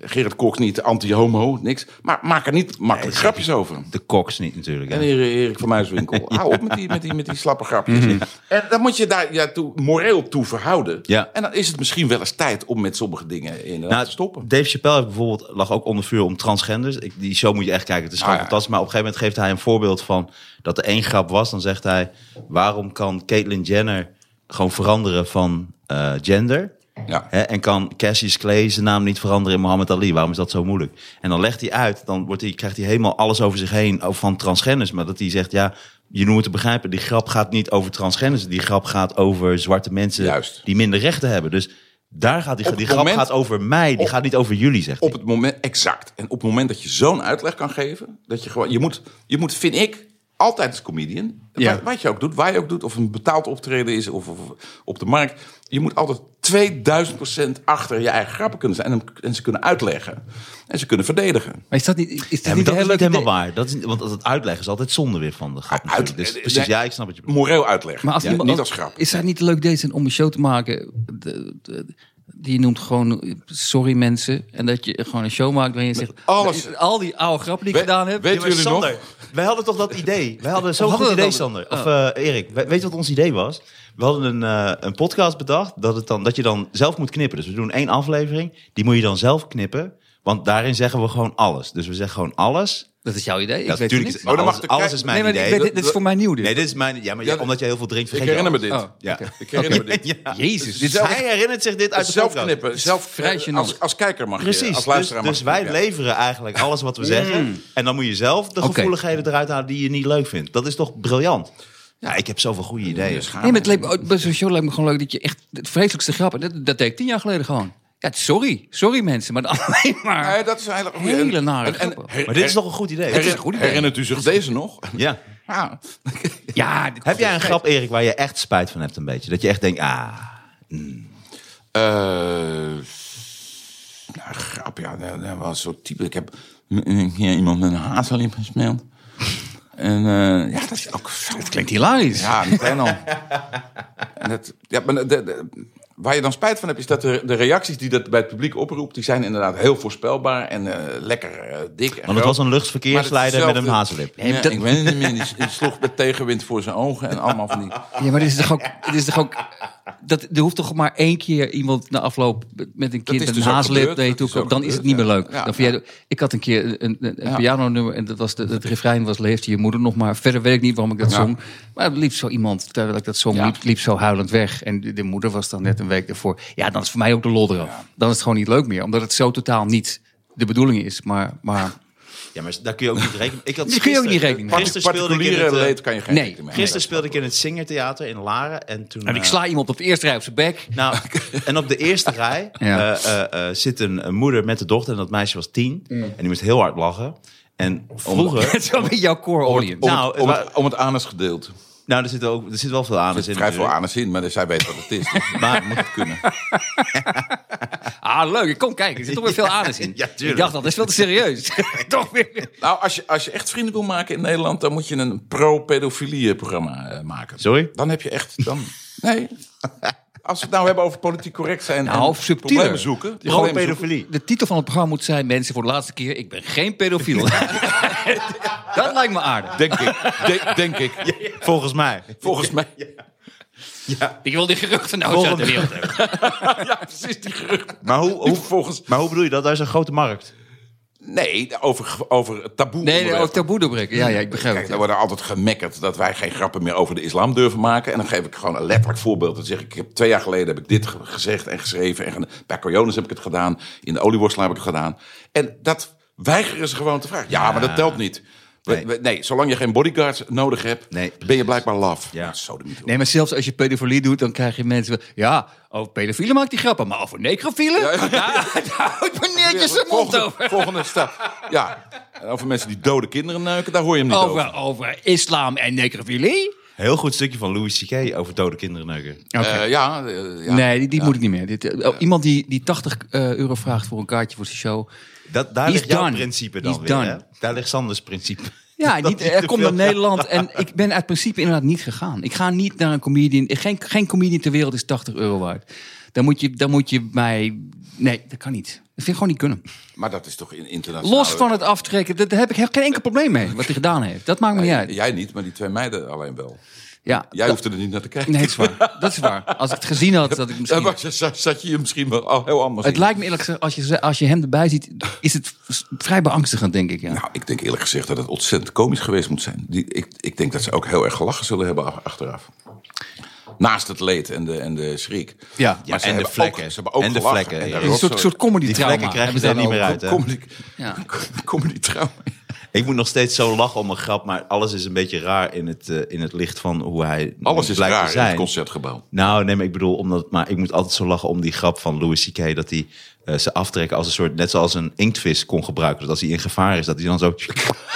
Speaker 4: Gerrit Koks niet anti-homo, niks. Maar maak er niet makkelijk grapjes over.
Speaker 2: De koks niet natuurlijk.
Speaker 4: En
Speaker 2: hè.
Speaker 4: Erik Erik van Muiswinkel. Hou op met die, met die, met die slappe grapjes. En dan moet je daar ja, toe, moreel toe verhouden.
Speaker 2: Ja.
Speaker 4: En dan is het misschien wel eens tijd om met sommige dingen inderdaad
Speaker 2: Nou,
Speaker 4: te stoppen.
Speaker 2: Dave Chappelle heeft bijvoorbeeld lag ook onder vuur om transgenders. Ik, die show moet je echt kijken. Het is gewoon
Speaker 4: Ah, ja.
Speaker 2: fantastisch. Maar op een gegeven moment geeft hij een voorbeeld van dat er één grap was. Dan zegt hij: waarom kan Caitlyn Jenner gewoon veranderen van eh, gender?
Speaker 4: Ja.
Speaker 2: Hè, en kan Cassius Clay zijn naam niet veranderen in Muhammad Ali? Waarom is dat zo moeilijk? En dan legt hij uit, dan wordt hij, krijgt hij helemaal alles over zich heen over van transgenders. Maar dat hij zegt, ja, je moet het begrijpen, die grap gaat niet over transgenders. Die grap gaat over zwarte mensen
Speaker 4: Juist.
Speaker 2: die minder rechten hebben. Dus daar gaat die,
Speaker 4: Op
Speaker 2: die
Speaker 4: het
Speaker 2: grap
Speaker 4: moment-
Speaker 2: gaat over mij, die
Speaker 4: op-
Speaker 2: gaat niet over jullie, zegt
Speaker 4: Op
Speaker 2: hij.
Speaker 4: het moment, exact. En op het moment dat je zo'n uitleg kan geven, dat je gewoon, je moet, je moet vind ik, altijd als comedian,
Speaker 3: Ja.
Speaker 4: wat, wat je ook doet, waar je ook doet, of een betaald optreden is, of, of op de markt, je moet altijd 2000% achter je eigen grappen kunnen zijn. En, hem- en ze kunnen uitleggen. En ze kunnen verdedigen.
Speaker 3: Maar is dat niet, is dat
Speaker 2: Ja, maar
Speaker 3: niet
Speaker 2: dat
Speaker 3: een
Speaker 2: is
Speaker 3: heel
Speaker 2: niet
Speaker 3: leuk
Speaker 2: helemaal
Speaker 3: idee?
Speaker 2: waar. Dat is, niet- want het uitleggen is altijd zonde weer van de grap.
Speaker 4: Uit-
Speaker 2: natuurlijk. dus
Speaker 4: eh,
Speaker 2: precies,
Speaker 4: nee.
Speaker 2: ja, ik snap wat je bedoelt.
Speaker 4: Moreel uitleggen.
Speaker 3: Maar als
Speaker 4: Ja,
Speaker 3: iemand,
Speaker 4: niet
Speaker 3: als-
Speaker 4: als grap.
Speaker 3: Is dat niet een leuk deze om een show te maken? De- de- die je noemt gewoon eh, sorry mensen. En dat je gewoon een show maakt waarin je zegt... "Nou,
Speaker 4: alles.
Speaker 3: Al die oude grappen die ik
Speaker 4: We-
Speaker 3: gedaan heb.
Speaker 4: weet-
Speaker 2: Ja, maar
Speaker 4: jullie nog?
Speaker 2: Sander, wij hadden toch dat idee. Wij hadden zo'n
Speaker 3: We
Speaker 2: goed
Speaker 3: hadden
Speaker 2: idee,
Speaker 3: dat al-
Speaker 2: Sander. Of eh, Erik, we- weet je wat ons idee was? We hadden een, eh, een podcast bedacht dat, het dan, dat je dan zelf moet knippen. Dus we doen één aflevering, die moet je dan zelf knippen. Want daarin zeggen we gewoon alles. Dus we zeggen gewoon alles.
Speaker 3: dat is jouw idee.
Speaker 2: Ja,
Speaker 3: ik weet
Speaker 2: natuurlijk
Speaker 3: het
Speaker 2: is
Speaker 3: niet.
Speaker 4: Oh, dan mag
Speaker 2: alles,
Speaker 4: de
Speaker 2: alles
Speaker 4: kei-
Speaker 2: is
Speaker 3: Nee,
Speaker 2: mijn
Speaker 3: maar ik weet-
Speaker 2: idee.
Speaker 3: dit is voor mij nieuw dit.
Speaker 2: Nee, dit is mijn... Ja, maar ja,
Speaker 4: Ja,
Speaker 2: omdat je heel veel drinkt,
Speaker 4: Ik
Speaker 2: vergeet
Speaker 4: herinner
Speaker 2: je
Speaker 4: me dit.
Speaker 3: Oh.
Speaker 2: alles. Ja.
Speaker 4: Ik herinner me dit.
Speaker 2: Ja.
Speaker 3: Jezus.
Speaker 2: Dus
Speaker 3: Dit is
Speaker 2: hij herinnert zich dit uit de
Speaker 4: zelf
Speaker 2: podcast.
Speaker 4: knippen. Zelf,
Speaker 3: vrij
Speaker 4: eh,
Speaker 3: gênant.
Speaker 4: als, als kijker mag je,
Speaker 2: Precies,
Speaker 4: als
Speaker 2: dus,
Speaker 4: luisteraar
Speaker 2: dus
Speaker 4: mag
Speaker 2: wij
Speaker 4: je. ja.
Speaker 2: leveren eigenlijk alles wat we zeggen. En dan moet je zelf de
Speaker 3: Oké.
Speaker 2: gevoeligheden eruit halen die je niet leuk vindt. Dat is toch briljant? Ja, ik heb zoveel goede ideeën.
Speaker 4: Dus gaan
Speaker 3: Nee,
Speaker 4: we.
Speaker 3: maar het leek, me- oh, bij zo'n show lijkt me gewoon leuk dat je echt... Het vreselijkste grap, en dat, dat deed ik tien jaar geleden gewoon. Ja, sorry. Sorry mensen, maar dan alleen maar...
Speaker 4: Nee, dat is eigenlijk een
Speaker 3: Hele nare grappen.
Speaker 2: Maar dit is nog een goed idee.
Speaker 3: is een goed idee.
Speaker 4: Herinnert u zich deze nog?
Speaker 2: Ja.
Speaker 4: Ja.
Speaker 3: ja,
Speaker 2: Heb jij een grap, Erik, waar je echt spijt van hebt een beetje? Dat je echt denkt, ah...
Speaker 4: Eh, nou, grap, ja. Dat, dat was zo type. Ik heb een keer iemand met een hazelip gesmeeld. En eh, ja, dat is ook zo
Speaker 3: Klinkt hilarisch.
Speaker 4: Ja, meteen al. En dat, ja, maar de- de- waar je dan spijt van hebt, is dat de, de reacties die dat bij het publiek oproept, die zijn inderdaad heel voorspelbaar en eh, lekker eh, dik. en
Speaker 2: Want het
Speaker 4: groot.
Speaker 2: was een luchtverkeersleider
Speaker 4: Maar
Speaker 2: met
Speaker 4: het is
Speaker 2: een hazenlip.
Speaker 4: Ja,
Speaker 3: dat-
Speaker 4: Ik weet het niet meer, die s- die sloeg met tegenwind voor zijn ogen en allemaal van die...
Speaker 3: Ja, maar dit is toch ook. Dit is toch ook dat, er hoeft toch maar één keer iemand na afloop met een kind
Speaker 4: is
Speaker 3: met een
Speaker 4: dus ook
Speaker 3: haaslip
Speaker 4: gebeurd,
Speaker 3: naar je
Speaker 4: dat
Speaker 3: toe
Speaker 4: is
Speaker 3: komt.
Speaker 4: ook
Speaker 3: Dan is het niet meer
Speaker 4: gebeurd,
Speaker 3: leuk.
Speaker 4: ja. Ja,
Speaker 3: Dan vind
Speaker 4: ja.
Speaker 3: jij, ik had een keer een, een, een
Speaker 4: Ja.
Speaker 3: pianonummer en dat was de, het refrein was Leefde je moeder nog maar. Verder weet ik niet waarom ik dat
Speaker 4: Ja.
Speaker 3: zong. Maar het liep zo iemand, terwijl ik dat zong,
Speaker 4: Ja.
Speaker 3: liep, liep zo huilend weg. En de, de moeder was dan net een week ervoor. Ja, dan is voor mij ook de lol eraf. Dan is het gewoon niet leuk meer. Omdat het zo totaal niet de bedoeling is. Maar, maar
Speaker 2: Ja, maar daar kun je ook niet rekening... Ik had
Speaker 3: Daar kun je ook niet
Speaker 2: gisteren-
Speaker 3: rekening mee.
Speaker 2: Gisteren speelde ik in
Speaker 4: Particuliere
Speaker 2: het, eh,
Speaker 4: leed kan je geen
Speaker 3: nee.
Speaker 4: rekening mee
Speaker 2: Gisteren speelde ik in het Singertheater in Laren. En toen...
Speaker 3: en ik
Speaker 2: eh,
Speaker 3: sla iemand op de eerste rij op zijn bek.
Speaker 2: Nou, en op de eerste rij
Speaker 3: Ja.
Speaker 2: eh, eh, eh, zit een, een moeder met de dochter. En dat meisje was tien. En die moest heel hard lachen. En vroeger...
Speaker 3: Het is wel met jouw core audience.
Speaker 4: Om,
Speaker 2: Nou,
Speaker 4: het, om,
Speaker 2: maar-
Speaker 4: het, om het anus gedeelte.
Speaker 2: Nou, er zit, ook, er zit wel veel aan.
Speaker 4: Er zit vrij veel anus in, maar zij weet wat het is. Dus
Speaker 2: Maar-
Speaker 4: maar moet het kunnen.
Speaker 3: Ah, leuk. Ik kom kijken. Er zit toch weer veel anus in.
Speaker 2: ja, tuurlijk.
Speaker 3: Ik dacht al, dat is veel te serieus. toch weer.
Speaker 4: Nou, als je, als je echt vrienden wil maken in Nederland, dan moet je een pro-pedofilie programma eh, maken.
Speaker 2: Sorry?
Speaker 4: Dan heb je echt. Dan, nee. Als we het nou hebben over politiek correct zijn.
Speaker 3: Nou,
Speaker 4: en
Speaker 3: subtieler.
Speaker 4: problemen zoeken. die problemen zoeken.
Speaker 2: Pro-pedofilie.
Speaker 3: De titel van het programma moet zijn... Mensen, voor de laatste keer, ik ben geen pedofiel. dat lijkt me aardig.
Speaker 4: Denk ik. de- denk ik.
Speaker 2: Volgens mij.
Speaker 4: Volgens mij.
Speaker 3: Ik wil die geruchten nou
Speaker 2: Volgende-
Speaker 3: zo de wereld hebben.
Speaker 4: Ja, precies die gerucht.
Speaker 2: Maar hoe, hoe,
Speaker 4: Hoe volgens.
Speaker 2: maar hoe bedoel je dat? Daar is een grote markt.
Speaker 4: Nee, over, over het taboe.
Speaker 3: Nee, nee,
Speaker 4: onderwerp.
Speaker 3: ook taboe doorbreken. Ja, ja, ik begrijp
Speaker 4: Kijk,
Speaker 3: het.
Speaker 4: er worden altijd gemekkerd dat wij geen grappen meer over de islam durven maken. En dan geef ik gewoon een letterlijk voorbeeld. Dan zeg ik, ik heb, twee jaar geleden heb ik dit ge- gezegd en geschreven. En ge- bij Coriolis heb ik het gedaan. In de olieworstelaar heb ik het gedaan. En dat weigeren ze gewoon te vragen. Ja, maar dat telt niet. We- we-
Speaker 2: Nee.
Speaker 4: Nee. zolang je geen bodyguards nodig hebt,
Speaker 2: Nee,
Speaker 4: ben je
Speaker 2: precies.
Speaker 4: blijkbaar laf.
Speaker 2: Ja.
Speaker 4: Zo de mythe.
Speaker 3: Nee, maar zelfs als je pedofilie doet, dan krijg je mensen... wel, Ja, over pedofielen maakt die grappen, maar over necrofielen? Ja, Daar houdt meneertje zijn mond
Speaker 4: volgende,
Speaker 3: over.
Speaker 4: volgende stap. Ja, En over mensen die dode kinderen neuken, daar hoor je hem niet over.
Speaker 3: Over, over islam en necrofilie?
Speaker 2: Heel goed stukje van Louis C.K. over dode kinderen neuken.
Speaker 4: Eh, ja, eh, ja.
Speaker 3: nee, die, die moet ik niet meer. Dit, eh, oh, Iemand die, die 80 eh, euro vraagt voor een kaartje voor zijn show.
Speaker 2: Dat, daar
Speaker 3: He's
Speaker 2: ligt jouw
Speaker 3: done.
Speaker 2: principe
Speaker 3: He's
Speaker 2: dan weer.
Speaker 3: done.
Speaker 2: Hè? Daar ligt Sanders principe.
Speaker 3: Ja,
Speaker 2: Dat
Speaker 3: niet,
Speaker 2: hij
Speaker 3: hij
Speaker 2: te
Speaker 3: komt
Speaker 2: veel
Speaker 3: naar Nederland en ik ben uit principe inderdaad niet gegaan. Ik ga niet naar een comedian. Geen, geen comedian ter wereld is 80 euro waard. Dan moet, je, dan moet je mij... Nee, dat kan niet. Dat vind ik gewoon niet kunnen.
Speaker 4: maar dat is toch in internationaal.
Speaker 3: Los van het aftrekken, daar heb ik heel- geen enkel probleem mee. Wat hij gedaan heeft, dat maakt me niet uit.
Speaker 4: Eh, Jij niet, maar die twee meiden alleen wel.
Speaker 3: Ja,
Speaker 4: Jij
Speaker 3: dat-
Speaker 4: hoefde er niet naar te kijken.
Speaker 3: Nee, dat is waar. Dat is waar. Als ik het gezien had, dat ik
Speaker 4: Daar
Speaker 3: misschien...
Speaker 4: was je- zat, zat je je misschien wel al heel anders
Speaker 3: Het
Speaker 4: in.
Speaker 3: lijkt me eerlijk gezegd, als je, ze- als je hem erbij ziet, is het v- vrij beangstigend, denk ik. Ja.
Speaker 4: Nou, ik denk eerlijk gezegd dat het ontzettend komisch geweest moet zijn. Die, ik, ik denk dat ze ook heel erg gelachen zullen hebben af- achteraf. Naast het leed en de, en de schrik.
Speaker 3: Ja,
Speaker 4: Maar
Speaker 3: ja,
Speaker 4: ze
Speaker 2: en de
Speaker 4: hebben ook-
Speaker 2: vlekken.
Speaker 4: ze hebben ook
Speaker 2: En de
Speaker 4: gelachen.
Speaker 2: vlekken,
Speaker 4: En
Speaker 2: ja.
Speaker 4: daar
Speaker 2: Een
Speaker 3: een
Speaker 4: rotzooi-
Speaker 3: soort, soort comedy
Speaker 2: Die
Speaker 3: trauma.
Speaker 2: vlekken krijg je
Speaker 3: hebben ze
Speaker 2: daar
Speaker 3: dan
Speaker 2: niet meer
Speaker 3: ook.
Speaker 2: uit. Hè?
Speaker 4: Comedy,
Speaker 3: Ja.
Speaker 4: comedy trauma.
Speaker 2: Ik moet nog steeds zo lachen om een grap, maar alles is een beetje raar in het, eh, in het licht van hoe hij
Speaker 4: Alles is
Speaker 2: blijkt te
Speaker 4: raar in
Speaker 2: zijn.
Speaker 4: het concertgebouw.
Speaker 2: Nou, nee, maar ik bedoel, omdat, maar ik moet altijd zo lachen om die grap van Louis C.K. dat hij eh, ze aftrekken als een soort, net zoals een inktvis kon gebruiken. Dat als hij in gevaar is, dat hij dan zo.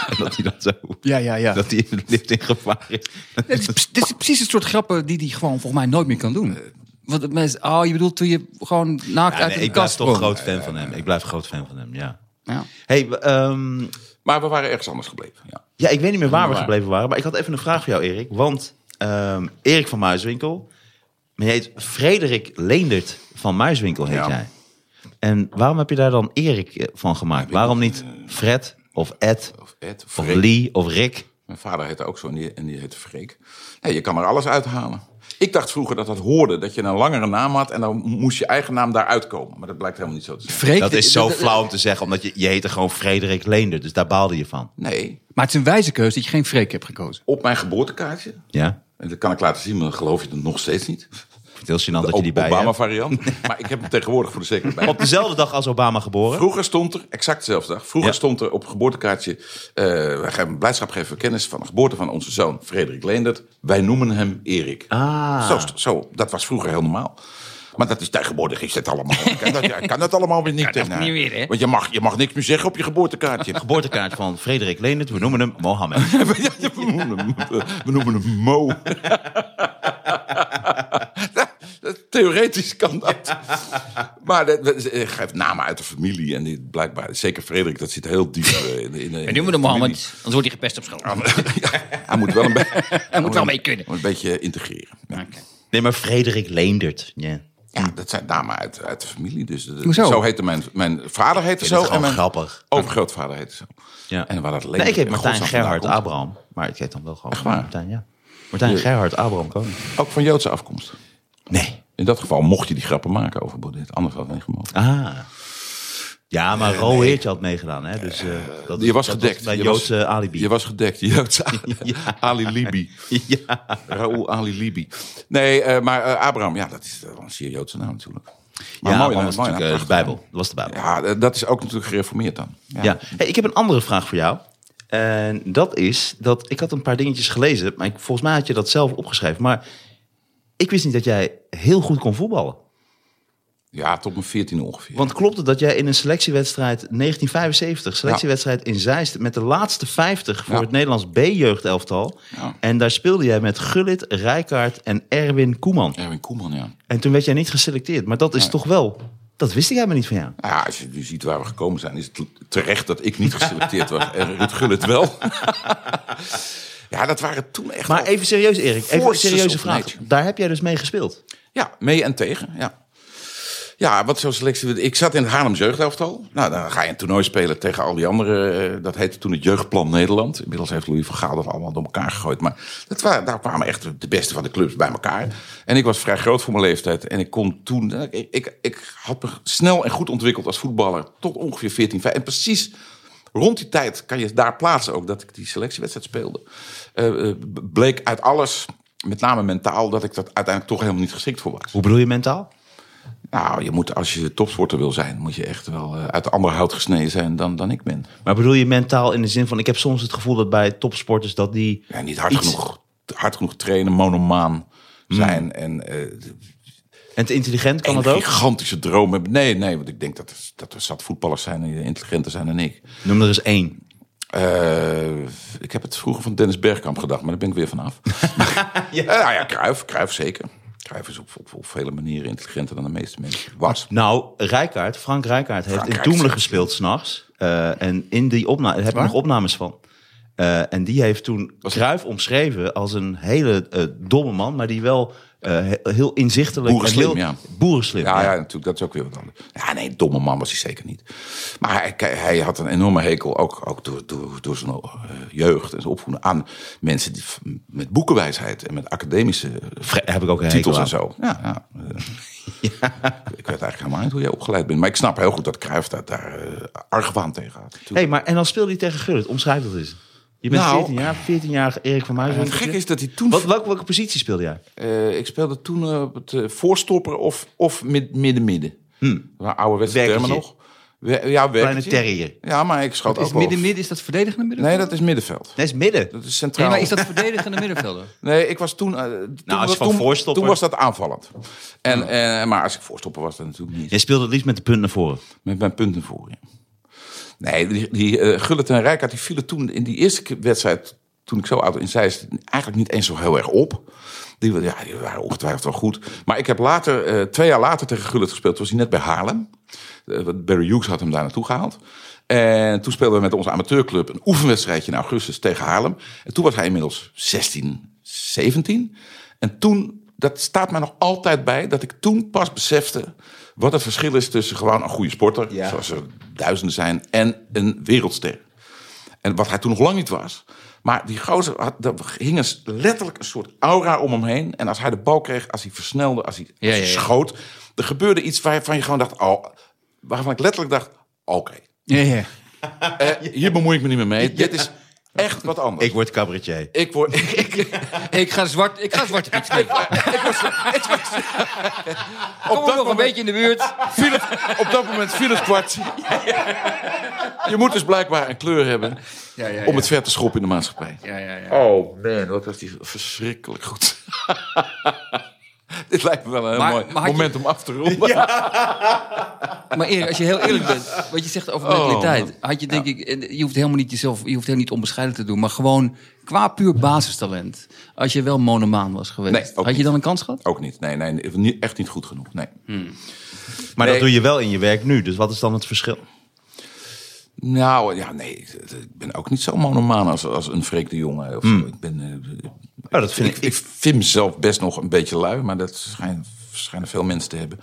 Speaker 2: en dat hij dan zo.
Speaker 3: Ja, ja, ja.
Speaker 2: Dat hij in het lift in gevaar is.
Speaker 3: Ja, Dit is, dit is precies het soort grappen die hij gewoon volgens mij nooit meer kan doen. Want het mensen, oh, je bedoelt toen je gewoon naakt
Speaker 2: Ja,
Speaker 3: uit
Speaker 2: nee,
Speaker 3: de
Speaker 2: ik blijf
Speaker 3: kast
Speaker 2: toch
Speaker 3: sprong.
Speaker 2: groot fan van hem. Ik blijf groot fan van hem, ja.
Speaker 3: Ja.
Speaker 2: Hey, we, ehm,
Speaker 4: Maar we waren ergens anders gebleven. Ja.
Speaker 2: ja, ik weet niet meer waar we
Speaker 4: Waar.
Speaker 2: gebleven waren, maar ik had even een vraag voor jou, Erik. Want ehm, Erik van Muiswinkel, maar je heet Frederik Leendert van Muiswinkel, heet
Speaker 4: Ja.
Speaker 2: jij. En waarom heb je daar dan Erik eh, van gemaakt? Waarom niet Fred of Ed
Speaker 4: Of Ed,
Speaker 2: of
Speaker 4: Freek.
Speaker 2: Lee of Rick?
Speaker 4: Mijn vader heette ook zo en die, en die heette Freek. Nee, je kan er alles uithalen. Ik dacht vroeger dat dat hoorde, dat je een langere naam had... en dan moest je eigen naam daaruit komen. Maar dat blijkt helemaal niet zo te zijn.
Speaker 3: Freek,
Speaker 2: Dat is zo
Speaker 3: dat-
Speaker 2: flauw om te zeggen, omdat je, je heette gewoon Frederik Leendert. Dus daar baalde je van.
Speaker 4: Nee,
Speaker 3: Maar het is een wijze keuze dat je geen Freek hebt gekozen.
Speaker 4: op mijn geboortekaartje...
Speaker 2: Ja,
Speaker 4: en dat kan ik laten zien, maar dan geloof je het nog steeds niet.
Speaker 2: ik vind het heel gênant dat je die
Speaker 4: Op
Speaker 2: bij hebt.
Speaker 4: Obama-variant. maar ik heb hem tegenwoordig voor de zekerheid bij.
Speaker 2: Op dezelfde dag als Obama geboren.
Speaker 4: Vroeger stond er, exact dezelfde dag, vroeger
Speaker 2: Ja.
Speaker 4: stond er op geboortekaartje... eh wij gaan blijdschap geven kennis van de geboorte van onze zoon Frederik Leendert. Wij noemen hem Erik.
Speaker 2: Ah.
Speaker 4: Zo, st- zo, dat was vroeger heel normaal. Maar dat is tegenwoordig is dat allemaal. Kan dat, kan dat allemaal weer niet.
Speaker 3: Kan dat
Speaker 4: eh,
Speaker 3: niet meer, hè?
Speaker 4: Want je mag, je mag niks meer zeggen op je geboortekaartje.
Speaker 2: Geboortekaart van Frederik Leendert, we noemen hem Mohammed.
Speaker 4: Ja, ja, we, noemen hem, eh, we noemen hem Mo. Theoretisch kan dat. Maar dat- dat- ik geef namen uit de familie. En die, blijkbaar, zeker Frederik, dat zit heel diep eh, in, in, in
Speaker 3: En nu moet
Speaker 4: de
Speaker 3: hem Mohammed, anders wordt hij gepest op school.
Speaker 4: familie. Ja, hij moet wel een, be-
Speaker 3: Hij moet wel mee kunnen.
Speaker 4: moet een beetje integreren. Ja.
Speaker 3: Oké.
Speaker 2: Nee, maar Frederik Leendert. Ja.
Speaker 4: Ja, dat zijn namen uit, uit de familie. Dus dat-
Speaker 3: Hoezo?
Speaker 4: Zo heette mijn, mijn vader heette
Speaker 2: vind het
Speaker 4: zo.
Speaker 2: gewoon
Speaker 4: en mijn
Speaker 2: grappig.
Speaker 4: Overgrootvader heette zo.
Speaker 2: Ja.
Speaker 4: En waar dat
Speaker 2: Nee, ik heet Martijn
Speaker 4: godsnaam vandaan
Speaker 2: Gerhard
Speaker 4: komt.
Speaker 2: Abraham. Maar ik heet dan wel gewoon
Speaker 4: Echt waar?
Speaker 2: Martijn, ja. Martijn Gerhard Abraham Koning.
Speaker 4: Ook van Joodse afkomst.
Speaker 2: Nee.
Speaker 4: In dat geval mocht je die grappen maken over Baudet. Anders had het niet gemogen.
Speaker 2: Ah. Ja, maar Ro Heertje had meegedaan, hè. Dus, eh, dat,
Speaker 4: Je was
Speaker 2: dat
Speaker 4: gedekt.
Speaker 2: mijn
Speaker 4: je
Speaker 2: Joodse
Speaker 4: was,
Speaker 2: alibi.
Speaker 4: Je was gedekt. Je Joodse Ali, Ali Libi.
Speaker 2: ja.
Speaker 4: Raoul Ali Libi. Nee, eh, maar eh, Abraham, ja, dat is wel een zeer Joodse naam natuurlijk. Maar
Speaker 2: ja,
Speaker 4: mooi
Speaker 2: man,
Speaker 4: naam,
Speaker 2: was
Speaker 4: mooi
Speaker 2: natuurlijk, eh,
Speaker 4: naam,
Speaker 2: de Bijbel. Dat was de Bijbel.
Speaker 4: prachtig. Ja, eh, dat is ook natuurlijk gereformeerd dan. Ja.
Speaker 2: Ja. Hey, ik heb een andere vraag voor jou. En dat is dat ik had een paar dingetjes gelezen, maar ik, volgens mij had je dat zelf opgeschreven. Maar ik wist niet dat jij heel goed kon voetballen.
Speaker 4: Ja, tot mijn 14 ongeveer.
Speaker 2: Want klopt het dat jij in een selectiewedstrijd 1975, selectiewedstrijd in Zeist, met de laatste 50 voor
Speaker 4: Ja.
Speaker 2: het Nederlands B-jeugdelftal.
Speaker 4: Ja.
Speaker 2: En daar speelde jij met Gullit, Rijkaard en Erwin Koeman.
Speaker 4: Erwin Koeman, ja.
Speaker 2: En toen werd jij niet geselecteerd, maar dat is toch wel. Dat wist ik helemaal niet van jou.
Speaker 4: Nou ja, als je nu ziet waar we gekomen zijn, is het terecht dat ik niet geselecteerd was. En Ruud Gullit wel. ja, dat waren toen echt
Speaker 2: Maar
Speaker 4: wel-
Speaker 2: even serieus, Erik. Even een
Speaker 4: Forces
Speaker 2: serieuze
Speaker 4: of
Speaker 2: vraag.
Speaker 4: nature.
Speaker 2: Daar heb jij dus mee gespeeld.
Speaker 4: Ja, mee en tegen, ja. Ja, wat zo'n selectie. Ik zat in het Haarlem jeugdelftal. Nou, dan ga je een toernooi spelen tegen al die anderen. eh, Dat heette toen het Jeugdplan Nederland. Inmiddels heeft Louis van Gaal dat allemaal door elkaar gegooid. Maar dat wa- daar kwamen echt de beste van de clubs bij elkaar. En ik was vrij groot voor mijn leeftijd. En ik kon toen... eh, Ik, ik, ik had me snel en goed ontwikkeld als voetballer. Tot ongeveer 14, 15. En precies rond die tijd kan je daar plaatsen ook dat ik die selectiewedstrijd speelde. Eh, eh, b- bleek uit alles... Met name mentaal, dat ik dat uiteindelijk toch helemaal niet geschikt voor was.
Speaker 2: Hoe bedoel je mentaal?
Speaker 4: Nou, je moet, als je topsporter wil zijn, moet je echt wel eh, uit de andere hout gesneden zijn dan, dan ik ben.
Speaker 2: Maar bedoel je mentaal in de zin van... Ik heb soms het gevoel dat bij topsporters dat die...
Speaker 4: Ja, niet hard,
Speaker 2: Iets-
Speaker 4: genoeg, hard genoeg trainen, monomaan zijn en eh,
Speaker 2: En te intelligent kan
Speaker 4: een
Speaker 2: dat ook?
Speaker 4: gigantische droom hebben. Nee, nee, want ik denk dat er, dat er zat voetballers zijn die intelligenter zijn dan ik.
Speaker 2: Noem er eens één.
Speaker 4: Eh, ik heb het vroeger van Dennis Bergkamp gedacht, maar daar ben ik weer vanaf. ja. nou ja, Cruijff, Cruijff zeker. Cruijff is op, op, op vele manieren intelligenter dan de meeste mensen. Was.
Speaker 2: Nou, Rijkaard, Frank Rijkaard heeft
Speaker 4: Frank
Speaker 2: in Doemelen
Speaker 4: Rijkaard.
Speaker 2: gespeeld s'nachts. nachts Eh, en in die opname, daar heb ik nog opnames van. Eh, en die heeft toen Cruijff omschreven als een hele eh, domme man, maar die wel eh, he- heel inzichtelijk
Speaker 4: Boerenslim,
Speaker 2: en heel
Speaker 4: ja.
Speaker 2: boerenslim.
Speaker 4: Ja,
Speaker 2: ja.
Speaker 4: ja, natuurlijk, dat is ook weer wat anders. Ja, nee, domme man was hij zeker niet. Maar hij, hij- hij had een enorme hekel, ook, ook door, door, door zijn eh, jeugd en zijn opvoeding, aan mensen die, met boekenwijsheid en met academische eh,
Speaker 2: Vre- heb ik ook een
Speaker 4: titels
Speaker 2: hekel
Speaker 4: en
Speaker 2: aan.
Speaker 4: zo. Ja, ja. eh, Ik weet eigenlijk helemaal niet hoe jij opgeleid bent. Maar ik snap heel goed dat Cruijff daar, daar eh, argwaan tegen had. Toen-
Speaker 2: Hey, maar en dan speelde hij tegen Gullit. Omschrijf dat eens. Je bent
Speaker 4: Nou,
Speaker 2: 14 jaar, 14 jaar Erik van Muizen.
Speaker 4: het gekke is dat hij toen...
Speaker 2: Wat, welke, welke positie speelde jij?
Speaker 4: Eh, ik speelde toen eh, op het eh, voorstopper of, of mid, midden-midden. Waar Ouderwetse
Speaker 2: Hm. Werkertje.
Speaker 4: termen nog. We- ja,
Speaker 2: Kleine
Speaker 4: werkertje.
Speaker 2: terrier.
Speaker 4: Ja, maar ik schoot ook
Speaker 3: Is
Speaker 4: wel-
Speaker 3: midden-midden, is dat verdedigende middenvelder?
Speaker 4: Nee, dat is middenveld.
Speaker 2: Nee, is midden.
Speaker 4: Dat is
Speaker 3: Nee,
Speaker 4: centraal.
Speaker 3: maar is dat Nou, verdedigende middenvelder?
Speaker 4: Nee, ik was toen... eh, toen,
Speaker 2: als je van
Speaker 4: toen,
Speaker 2: voorstopper-
Speaker 4: toen was dat aanvallend. En, eh, maar als ik voorstopper was, dan natuurlijk niet.
Speaker 2: Jij speelde het liefst met de punt naar voren.
Speaker 4: Met mijn punten voor je. Nee, die, die eh, Gullit en Rijkaard die vielen toen in die eerste ke- wedstrijd... toen ik zo oud in Zeist, eigenlijk niet eens zo heel erg op. Die, wa- ja, die waren ongetwijfeld wel goed. Maar ik heb later, eh, twee jaar later tegen Gullit gespeeld. Toen was hij net bij Haarlem. Eh, want Barry Hughes had hem daar naartoe gehaald. En toen speelden we met onze amateurclub een oefenwedstrijdje in augustus tegen Haarlem. En toen was hij inmiddels 16, 17. En toen, dat staat mij nog altijd bij, dat ik toen pas besefte wat het verschil is tussen gewoon een goede sporter,
Speaker 2: Ja.
Speaker 4: zoals er duizenden zijn, en een wereldster. En wat hij toen nog lang niet was. Maar die gozer, had, daar hing een, s- letterlijk een soort aura om hem heen. En als hij de bal kreeg, als hij versnelde, als hij, als
Speaker 3: Ja,
Speaker 4: hij
Speaker 3: ja, ja.
Speaker 4: schoot. Er gebeurde iets waarvan je gewoon dacht, oh, waarvan ik letterlijk dacht, oké.
Speaker 3: Ja, ja.
Speaker 4: eh, hier bemoei ik me niet meer mee. Dit is echt wat anders.
Speaker 2: Ik word cabaretier.
Speaker 4: ik word... ik,
Speaker 3: Ik ga zwart, ik ga zwart iets spelen. Kom
Speaker 4: op,
Speaker 3: nog
Speaker 4: dat
Speaker 3: een
Speaker 4: moment,
Speaker 3: beetje in de buurt.
Speaker 4: viel het, op dat moment viel het kwart. Je moet dus blijkbaar een kleur hebben
Speaker 3: Ja, ja,
Speaker 4: om het ver te schoppen in de maatschappij.
Speaker 3: Ja, ja, ja.
Speaker 4: Oh man, wat was die verschrikkelijk goed. Dit lijkt me wel een heel
Speaker 3: Maar-
Speaker 4: mooi
Speaker 3: maar had je-
Speaker 4: moment om af te ronden.
Speaker 3: Maar Erik, als je heel eerlijk bent, wat je zegt over
Speaker 4: Oh.
Speaker 3: mentaliteit. had je denk ik, en je hoeft helemaal niet jezelf, je hoeft helemaal niet onbescheiden te doen. Maar gewoon qua puur basistalent. Als je wel monomaan was geweest,
Speaker 4: Nee, ook
Speaker 3: had je
Speaker 4: niet.
Speaker 3: dan een kans gehad?
Speaker 4: Ook niet. Nee, nee, nee, echt niet goed genoeg. Nee.
Speaker 2: Maar
Speaker 4: Nee.
Speaker 2: dat doe je wel in je werk nu. Dus wat is dan het verschil?
Speaker 4: Nou, ja, nee. Ik ik ben ook niet zo monomaan als, als een Freek de Jonge. Of zo. Ik, ben, eh,
Speaker 2: Nou, dat vind
Speaker 4: ik, ik vind mezelf best nog een beetje lui. Maar dat schijnen, schijnen veel mensen te hebben.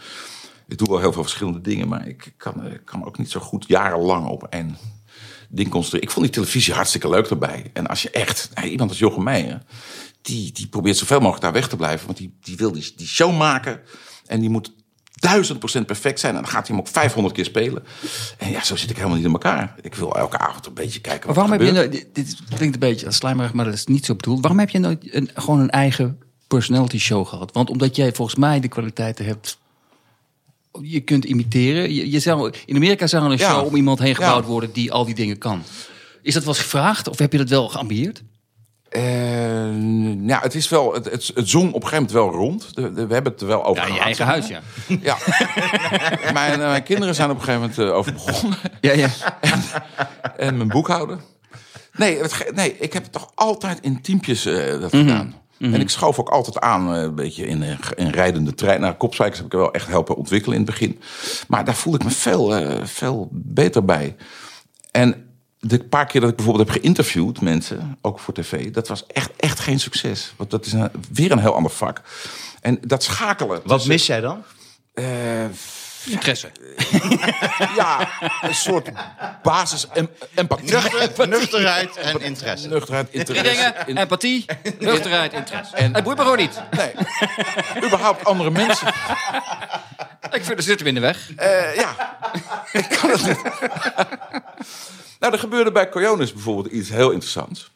Speaker 4: Ik doe wel heel veel verschillende dingen. Maar ik kan, eh, ik kan ook niet zo goed jarenlang op één ding concentreren. Ik vond die televisie hartstikke leuk daarbij. En als je echt... nou, iemand als Jochem Meijer... Die, die probeert zoveel mogelijk daar weg te blijven. Want die, die wil die, die show maken. En die moet duizend procent perfect zijn. En dan gaat hij hem ook 500 keer spelen. En ja, zo zit ik helemaal niet in elkaar. Ik wil elke avond een beetje kijken
Speaker 3: Maar
Speaker 4: wat
Speaker 3: waarom
Speaker 4: er
Speaker 3: heb je
Speaker 4: gebeurt.
Speaker 3: nooit, dit, dit klinkt een beetje als slijmerig, maar dat is niet zo bedoeld. Waarom heb je nooit een, gewoon een eigen personality show gehad? Want omdat jij volgens mij de kwaliteiten hebt. Je kunt imiteren. Je, je zou, in Amerika zou er een
Speaker 4: Ja.
Speaker 3: show om iemand heen
Speaker 4: Ja.
Speaker 3: gebouwd worden die al die dingen kan. Is dat wel eens gevraagd of heb je dat wel geambieerd?
Speaker 4: Eh, nou, het is wel, het, het, het zong op een gegeven moment wel rond. De- de- we hebben het er wel over
Speaker 3: Ja,
Speaker 4: gehad.
Speaker 3: je eigen
Speaker 4: zeg maar.
Speaker 3: huis, ja.
Speaker 4: Ja. mijn, eh, mijn kinderen zijn op een gegeven moment eh, over begonnen.
Speaker 3: Ja, ja.
Speaker 4: en mijn boekhouder. Nee, het, ge- nee, ik heb toch altijd in teampjes eh, dat gedaan. En ik schoof ook altijd aan, eh, een beetje in, eh, ge- in rijdende trein. Naar Kopswijkers heb ik er wel echt helpen ontwikkelen in het begin. Maar daar voelde ik me veel, eh, veel beter bij. En de paar keer dat ik bijvoorbeeld heb geïnterviewd mensen, ook voor tv, dat was echt, echt geen succes. Want dat is een- weer een heel ander vak. En dat schakelen.
Speaker 2: Wat mis jij dan?
Speaker 4: eh,
Speaker 3: Interesse.
Speaker 4: ja, een soort basis em- empathie.
Speaker 2: Nuchterheid en interesse.
Speaker 4: Nuchterheid,
Speaker 3: Drie
Speaker 4: interesse.
Speaker 3: dingen, empathie, nuchterheid, interesse. Het boeit me gewoon niet.
Speaker 4: Nee, überhaupt andere mensen.
Speaker 3: Ik vind, er zitten we in de weg.
Speaker 4: Eh, ja, ik kan het niet. nou, er gebeurde bij Coyonis bijvoorbeeld iets heel interessants.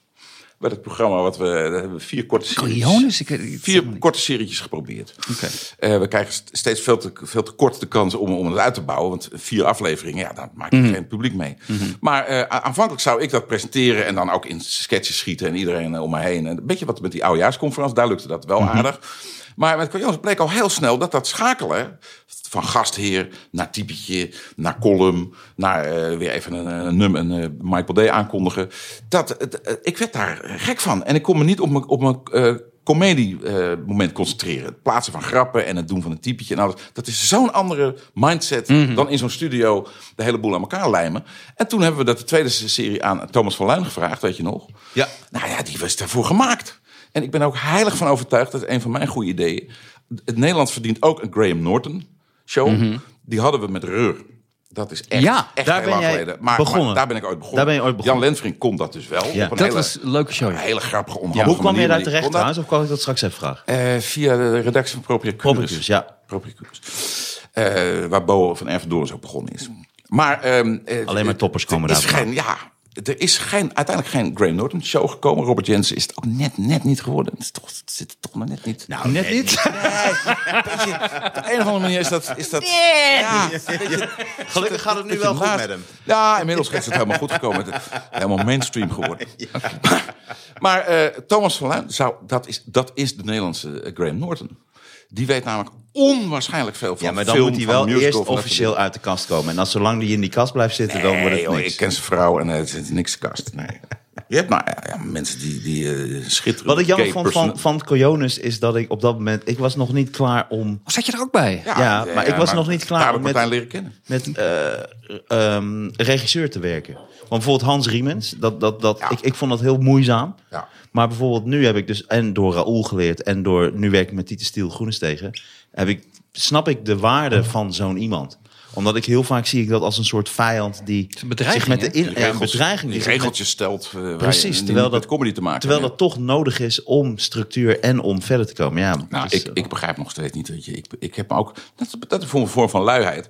Speaker 4: Bij dat programma wat we, daar hebben we vier korte
Speaker 3: Coriolis? Ik weet het
Speaker 4: vier
Speaker 3: helemaal niet.
Speaker 4: korte serietjes geprobeerd.
Speaker 3: Oké.
Speaker 4: Eh, we krijgen st- steeds veel te, veel te kort de kans om, om het uit te bouwen. Want vier afleveringen, ja, daar maak je geen publiek mee. Maar eh, a- aanvankelijk zou ik dat presenteren en dan ook in sketches schieten en iedereen eh, om me heen. En een beetje wat met die oudejaarsconferentie, daar lukte dat wel aardig. Maar met Coriolis bleek al heel snel dat dat schakelen van gastheer naar typetje, naar column, naar eh, weer even een, eh, nummer, een eh, Michael D. aankondigen. Dat, het- eh, ik werd daar gek van. En ik kon me niet op mijn, op mijn eh, comedie-moment eh, concentreren. Het plaatsen van grappen en het doen van een typetje en alles. Dat is zo'n andere mindset
Speaker 2: Mhm.
Speaker 4: dan in zo'n studio de hele boel aan elkaar lijmen. En toen hebben we dat de tweede serie aan Thomas van Luijn gevraagd, weet je nog?
Speaker 2: Ja.
Speaker 4: Nou ja, die was daarvoor gemaakt. En ik ben er ook heilig van overtuigd dat een van mijn goede ideeën. Het Nederland verdient ook een Graham Norton show. Die hadden we met Reur. Dat is echt,
Speaker 3: Ja,
Speaker 4: echt
Speaker 2: Mhm. daar
Speaker 4: heel
Speaker 2: ben
Speaker 4: lang
Speaker 2: jij
Speaker 4: geleden. Maar,
Speaker 2: begonnen.
Speaker 4: maar daar ben ik ooit begonnen.
Speaker 2: Daar ben je ooit begonnen.
Speaker 4: Jan Lenfrink kon dat dus wel.
Speaker 2: Ja.
Speaker 4: Op een
Speaker 3: Dat
Speaker 4: hele,
Speaker 3: was een leuke show.
Speaker 4: een hele grappige,
Speaker 2: Ja,
Speaker 4: onhandige
Speaker 2: hoe kwam
Speaker 4: manier,
Speaker 2: jij daar
Speaker 4: maar die
Speaker 2: terecht
Speaker 4: kon dat.
Speaker 2: trouwens? Of kan ik dat straks even vragen?
Speaker 4: Eh, via de redactie van Propriacurus.
Speaker 2: Propriacurus, ja.
Speaker 4: Propriacurus. Eh, waar Bo van Erfdoorn zo begonnen is. Maar, ehm, eh,
Speaker 2: Alleen maar toppers
Speaker 4: er
Speaker 2: komen
Speaker 4: is
Speaker 2: daar
Speaker 4: Geen, ja, er is geen, uiteindelijk geen Graham Norton show gekomen. Robert Jensen is het ook net, net niet geworden. Het, is toch, het zit er toch maar net niet.
Speaker 2: Nou, net niet.
Speaker 4: Op de een of andere manier is dat... Is dat ja, een beetje-
Speaker 2: Gelukkig gaat het nu
Speaker 4: beetje
Speaker 2: wel goed
Speaker 4: laat.
Speaker 2: met hem.
Speaker 4: Ja, inmiddels is het helemaal goed gekomen. Het is helemaal mainstream geworden. Maar, maar, eh, Thomas van Luijn, zou, dat, is, dat is de Nederlandse eh, Graham Norton. Die weet namelijk onwaarschijnlijk veel van
Speaker 2: Ja, maar dan
Speaker 4: film,
Speaker 2: moet hij
Speaker 4: van
Speaker 2: wel
Speaker 4: musical,
Speaker 2: eerst
Speaker 4: van dat
Speaker 2: officieel uit de kast komen. En als zolang die in die kast blijft zitten, dan wordt
Speaker 4: Nee,
Speaker 2: het
Speaker 4: joh,
Speaker 2: niks.
Speaker 4: ik ken zijn vrouw en eh, het is niks kast. Nee. Je hebt nou ja, ja, mensen die, die eh, schitteren.
Speaker 2: Wat ik jammer
Speaker 4: Gay
Speaker 2: vond van,
Speaker 4: person-
Speaker 2: van Coyonis is dat ik op dat moment... Ik was nog niet klaar om
Speaker 3: Oh, zat je er ook bij?
Speaker 2: ja, maar ik was nog niet klaar
Speaker 4: Daar heb ik
Speaker 2: om met-
Speaker 4: Martijn leren kennen.
Speaker 2: met eh, ehm, regisseur te werken. Want bijvoorbeeld Hans Riemens, dat, dat, dat,
Speaker 4: Ja.
Speaker 2: ik, ik vond dat heel moeizaam.
Speaker 4: Ja.
Speaker 2: Maar bijvoorbeeld nu heb ik dus en door Raoul geleerd... en door nu werk ik met Tieten Stiel Groenestegen... Heb ik, snap ik de waarde van zo'n iemand omdat ik heel vaak zie ik dat als een soort vijand die
Speaker 3: een bedreiging,
Speaker 2: zich met de
Speaker 3: hè?
Speaker 2: in, eh, een bedreiging
Speaker 4: die
Speaker 2: is.
Speaker 4: regeltjes stelt. eh, waar je
Speaker 2: Precies,
Speaker 4: niet
Speaker 2: terwijl
Speaker 4: met
Speaker 2: dat-
Speaker 4: comedy te maken
Speaker 2: Terwijl
Speaker 4: hebt.
Speaker 2: dat toch nodig is om structuur en om verder te komen. Ja,
Speaker 4: Nou,
Speaker 2: het is,
Speaker 4: ik,
Speaker 2: eh,
Speaker 4: ik begrijp nog steeds niet. Weet je. Ik, ik heb me ook. Dat, is- dat is voor een vorm van luiheid.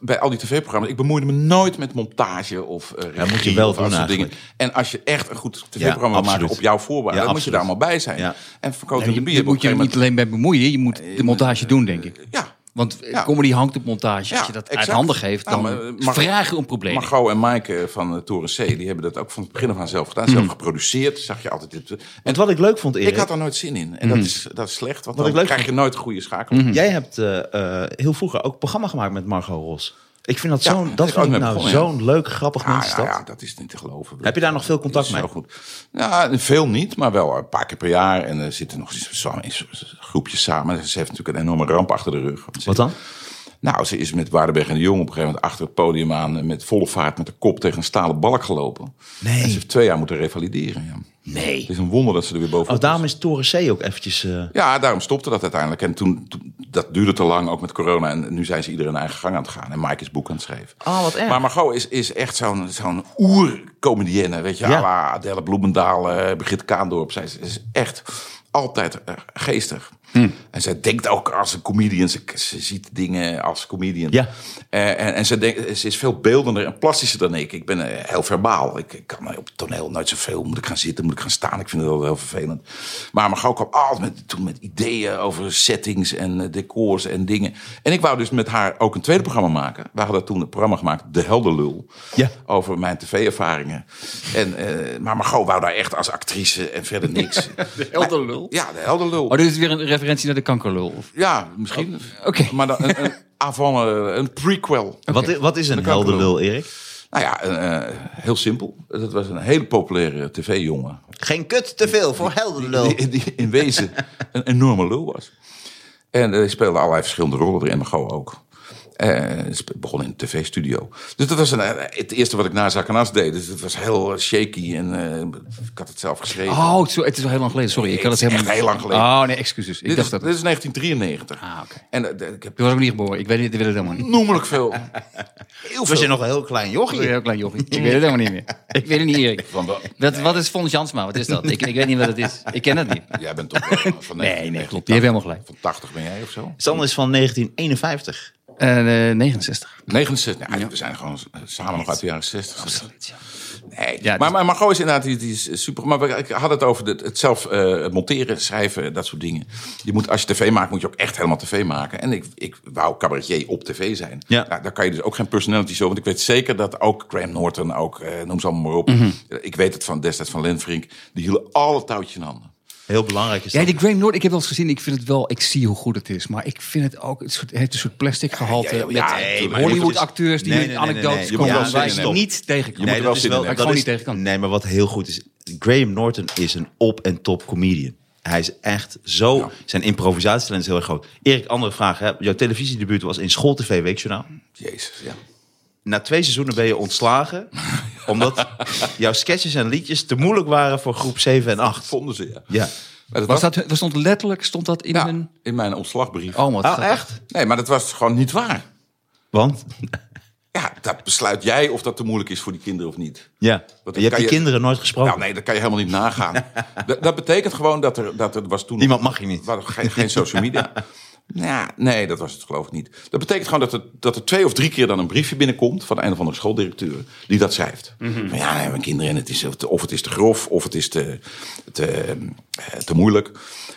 Speaker 4: Bij al die tv-programma's. Ik bemoeide me nooit met montage of eh regie
Speaker 2: moet je wel
Speaker 4: of dat
Speaker 2: doen
Speaker 4: soort dingen.
Speaker 2: eigenlijk.
Speaker 4: En als je echt een goed tv-programma maakt
Speaker 2: absoluut.
Speaker 4: op jouw voorwaarden,
Speaker 2: Ja,
Speaker 4: dan moet je
Speaker 2: absoluut.
Speaker 4: daar allemaal bij zijn.
Speaker 2: Ja.
Speaker 4: En verkopen
Speaker 3: Nee,
Speaker 4: de
Speaker 3: je-
Speaker 4: bier.
Speaker 3: daar moet je er niet alleen bij bemoeien. Je moet de montage doen, denk ik.
Speaker 4: Ja.
Speaker 3: Want eh,
Speaker 4: Eh, Ja.
Speaker 3: comedy hangt op montage.
Speaker 4: Ja,
Speaker 3: Als je dat uit
Speaker 4: exact.
Speaker 3: handen geeft,
Speaker 4: Nou,
Speaker 3: dan
Speaker 4: maar, eh, Mar-
Speaker 3: vraag je om problemen.
Speaker 4: Margot en Maaike van eh, Toren C, die hebben dat ook van het begin af aan zelf gedaan. Zelf geproduceerd, zag je altijd. Dit. En
Speaker 2: want Mhm. wat ik leuk vond, Erik...
Speaker 4: ik had daar nooit zin in. En dat, is, dat is slecht,
Speaker 2: Wat
Speaker 4: want dan
Speaker 2: ik leuk Mhm.
Speaker 4: krijg je nooit goede schakeling.
Speaker 2: Jij hebt eh, eh, heel vroeger ook programma gemaakt met Margot Ros. Ik vind dat
Speaker 4: Ja,
Speaker 2: zo'n,
Speaker 4: daar
Speaker 2: dat
Speaker 4: is
Speaker 2: vind
Speaker 4: ook
Speaker 2: ik
Speaker 4: mee
Speaker 2: nou
Speaker 4: begonnen, ja.
Speaker 2: zo'n leuk, grappig
Speaker 4: Ah, Ja,
Speaker 2: mens is
Speaker 4: ja,
Speaker 2: dat.
Speaker 4: ja, dat is niet te geloven.
Speaker 2: Heb je daar nog veel contact
Speaker 4: Dat
Speaker 2: mee?
Speaker 4: is Zo goed. Ja, veel niet, maar wel een paar keer per jaar. En er zitten nog eens zo- in zo- groepjes samen. Ze heeft natuurlijk een enorme ramp achter de rug. Want ze-
Speaker 2: Wat dan?
Speaker 4: Nou, ze is met Waardenberg en de Jong op een gegeven moment achter het podium aan... en met volle vaart met de kop tegen een stalen balk gelopen.
Speaker 2: Nee.
Speaker 4: En ze heeft twee jaar moeten revalideren. Ja.
Speaker 2: Nee.
Speaker 4: Het is een wonder dat ze er weer bovenop
Speaker 2: Oh, daarom is Toren C ook eventjes... eh,
Speaker 4: ja, daarom stopte dat uiteindelijk. En toen, toen- dat duurde te lang, ook met corona. En nu zijn ze iedereen eigen gang aan het gaan. En Mike is boek aan het schrijven.
Speaker 2: Oh, wat erg.
Speaker 4: Maar Margot is, is echt zo'n zo'n oercomedienne. Weet je,
Speaker 2: Ja.
Speaker 4: à la Adele Bloemendaal, eh Brigitte Kaandorp. Zij is, is echt altijd eh, geestig.
Speaker 2: Hm.
Speaker 4: En zij denkt ook als een comedian. Ze, ze ziet dingen als comedian.
Speaker 2: Ja.
Speaker 4: Eh, en en ze, denkt, ze is veel beeldender en plastischer dan ik. Ik ben eh, heel verbaal. Ik, ik kan eh, op het toneel nooit zoveel. Moet ik gaan zitten, moet ik gaan staan? Ik vind het wel heel vervelend. Maar Margot kwam altijd met, toen met ideeën over settings en eh, decors en dingen. En ik wou dus met haar ook een tweede programma maken. We hadden toen het programma gemaakt, De Helderlul.
Speaker 2: Ja.
Speaker 4: Over mijn tv-ervaringen. En, eh, maar Margot wou daar echt als actrice en verder niks. de
Speaker 3: Helderlul?
Speaker 4: Ja, De Helderlul.
Speaker 3: Oh, dit is weer een referentie naar de kankerlul. Of...
Speaker 4: Ja, misschien.
Speaker 3: Oké.
Speaker 4: Maar dan een, een, avant, eh, een prequel.
Speaker 2: wat, wat is een
Speaker 4: kan ik
Speaker 2: helder
Speaker 4: wel.
Speaker 2: lul, Erik?
Speaker 4: Nou ja, eh, eh, heel simpel. Dat was een hele populaire tv-jongen.
Speaker 2: Geen kut te veel voor helder lul.
Speaker 4: Die, die in wezen een enorme lul was. En eh, hij speelde allerlei verschillende rollen erin, maar gewoon ook. Eh, sp- begon in een tv-studio. Dus dat was een, eh, het eerste wat ik na Zakanas deed. Dus het was heel eh, shaky en eh, ik had het zelf geschreven.
Speaker 3: Oh, het is, wel- het is wel heel lang geleden. Sorry, ik had het
Speaker 4: Het is
Speaker 3: helemaal
Speaker 4: echt heel lang geleden.
Speaker 3: Oh, nee, excuses. Ik
Speaker 4: dit,
Speaker 3: dacht
Speaker 4: is,
Speaker 3: dat...
Speaker 4: dit is 1993.
Speaker 3: Ah, oké.
Speaker 4: En eh, ik heb
Speaker 3: Toen was ik nog niet geboren. Ik weet het, ik weet het helemaal niet.
Speaker 4: noemelijk veel.
Speaker 2: Toen was je nog een heel klein
Speaker 3: Ik
Speaker 2: jochie.
Speaker 4: Oh
Speaker 3: ben een heel klein jochie. Ik weet het helemaal niet meer. Ik weet het niet, Erik. Wat, wat is Fons Jansma? Wat is dat? Ik, ik weet niet wat het is. Ik ken het niet.
Speaker 4: Jij bent toch wel van
Speaker 3: Nee, nee,
Speaker 4: 1980.
Speaker 3: klopt. Je hebt helemaal gelijk.
Speaker 4: Van 80 ben jij of zo?
Speaker 2: Sander is van 1951.
Speaker 3: Eh, eh, 69.
Speaker 4: 69. Nou, We zijn gewoon s- samen nog uit de jaren 60.
Speaker 3: Absoluut, ja.
Speaker 4: Nee,
Speaker 3: Ja,
Speaker 4: maar,
Speaker 3: dus-
Speaker 4: maar Margot is inderdaad die, die is super. Maar we- ik had het over het, het zelf eh, monteren, schrijven, dat soort dingen. Je moet, als je tv maakt, moet je ook echt helemaal tv maken. En ik, ik wou cabaretier op tv zijn.
Speaker 2: Ja.
Speaker 4: Nou, daar kan je dus ook geen personality show. Want ik weet zeker dat ook Graham Norton, ook, eh, noem ze allemaal maar op.
Speaker 3: Mhm.
Speaker 4: Eh, Ik weet het van destijds van Lenfrink. Die hielden alle touwtjes in handen.
Speaker 2: Heel belangrijk is
Speaker 3: Ja,
Speaker 2: dat.
Speaker 3: die Graham Norton, ik heb wel eens gezien. Ik vind het wel, ik zie hoe goed het is. Maar ik vind het ook, het soort- het heeft een soort plastic gehalte.
Speaker 4: Ja, ja, ja,
Speaker 3: met
Speaker 4: nee,
Speaker 2: maar je moet
Speaker 3: Hollywood
Speaker 2: dus-
Speaker 3: acteurs die
Speaker 2: Nee,
Speaker 3: met
Speaker 2: nee, nee, nee,
Speaker 3: anekdotes
Speaker 2: nee. Je
Speaker 4: moet
Speaker 3: komen.
Speaker 4: wel
Speaker 3: waar
Speaker 4: zin
Speaker 3: je
Speaker 4: in
Speaker 3: niet tegen kan.
Speaker 4: moet er wel
Speaker 2: dat is
Speaker 4: zin in hebben.
Speaker 2: dat
Speaker 3: Waar ik
Speaker 2: is-
Speaker 3: gewoon niet tegen kan.
Speaker 2: Nee, maar wat heel goed is... Graham Norton is een op- en top comedian. Hij is echt zo...
Speaker 4: Ja.
Speaker 2: Zijn improvisatietalent is heel erg groot. Erik, andere vraag. Hè? Jouw televisiedebuut was in School TV Weekjournaal.
Speaker 4: Jezus, ja.
Speaker 2: Na twee seizoenen ben je ontslagen... omdat jouw sketches en liedjes te moeilijk waren voor groep 7 en 8.
Speaker 4: Vonden ze, ja.
Speaker 2: Ja. Ah,
Speaker 4: Maar dat
Speaker 3: Was dat, was stond letterlijk, stond dat in
Speaker 4: ja,
Speaker 3: een...
Speaker 4: in mijn ontslagbrief.
Speaker 3: Oh, wat
Speaker 2: Oh,
Speaker 3: grappig.
Speaker 2: echt?
Speaker 4: Nee, maar dat was gewoon niet waar.
Speaker 2: Want?
Speaker 4: Ja, dat besluit jij of dat te moeilijk is voor die kinderen of niet.
Speaker 2: Ja.
Speaker 4: Dat
Speaker 2: je hebt
Speaker 4: kan
Speaker 2: die
Speaker 4: je-
Speaker 2: kinderen nooit gesproken.
Speaker 4: Nou, nee, dat kan je helemaal niet nagaan. dat, dat betekent gewoon dat er, dat er was toen...
Speaker 2: Niemand mag je niet.
Speaker 4: Er waren geen, geen social media. Ja, nee, dat was het geloof ik niet. Dat betekent gewoon dat er, dat er twee of drie keer dan een briefje binnenkomt... van een of andere schooldirecteur die dat schrijft.
Speaker 2: Mhm.
Speaker 4: Van, ja, nee, mijn kinderen, het is, of het is te grof... of het is te, te, eh, te moeilijk.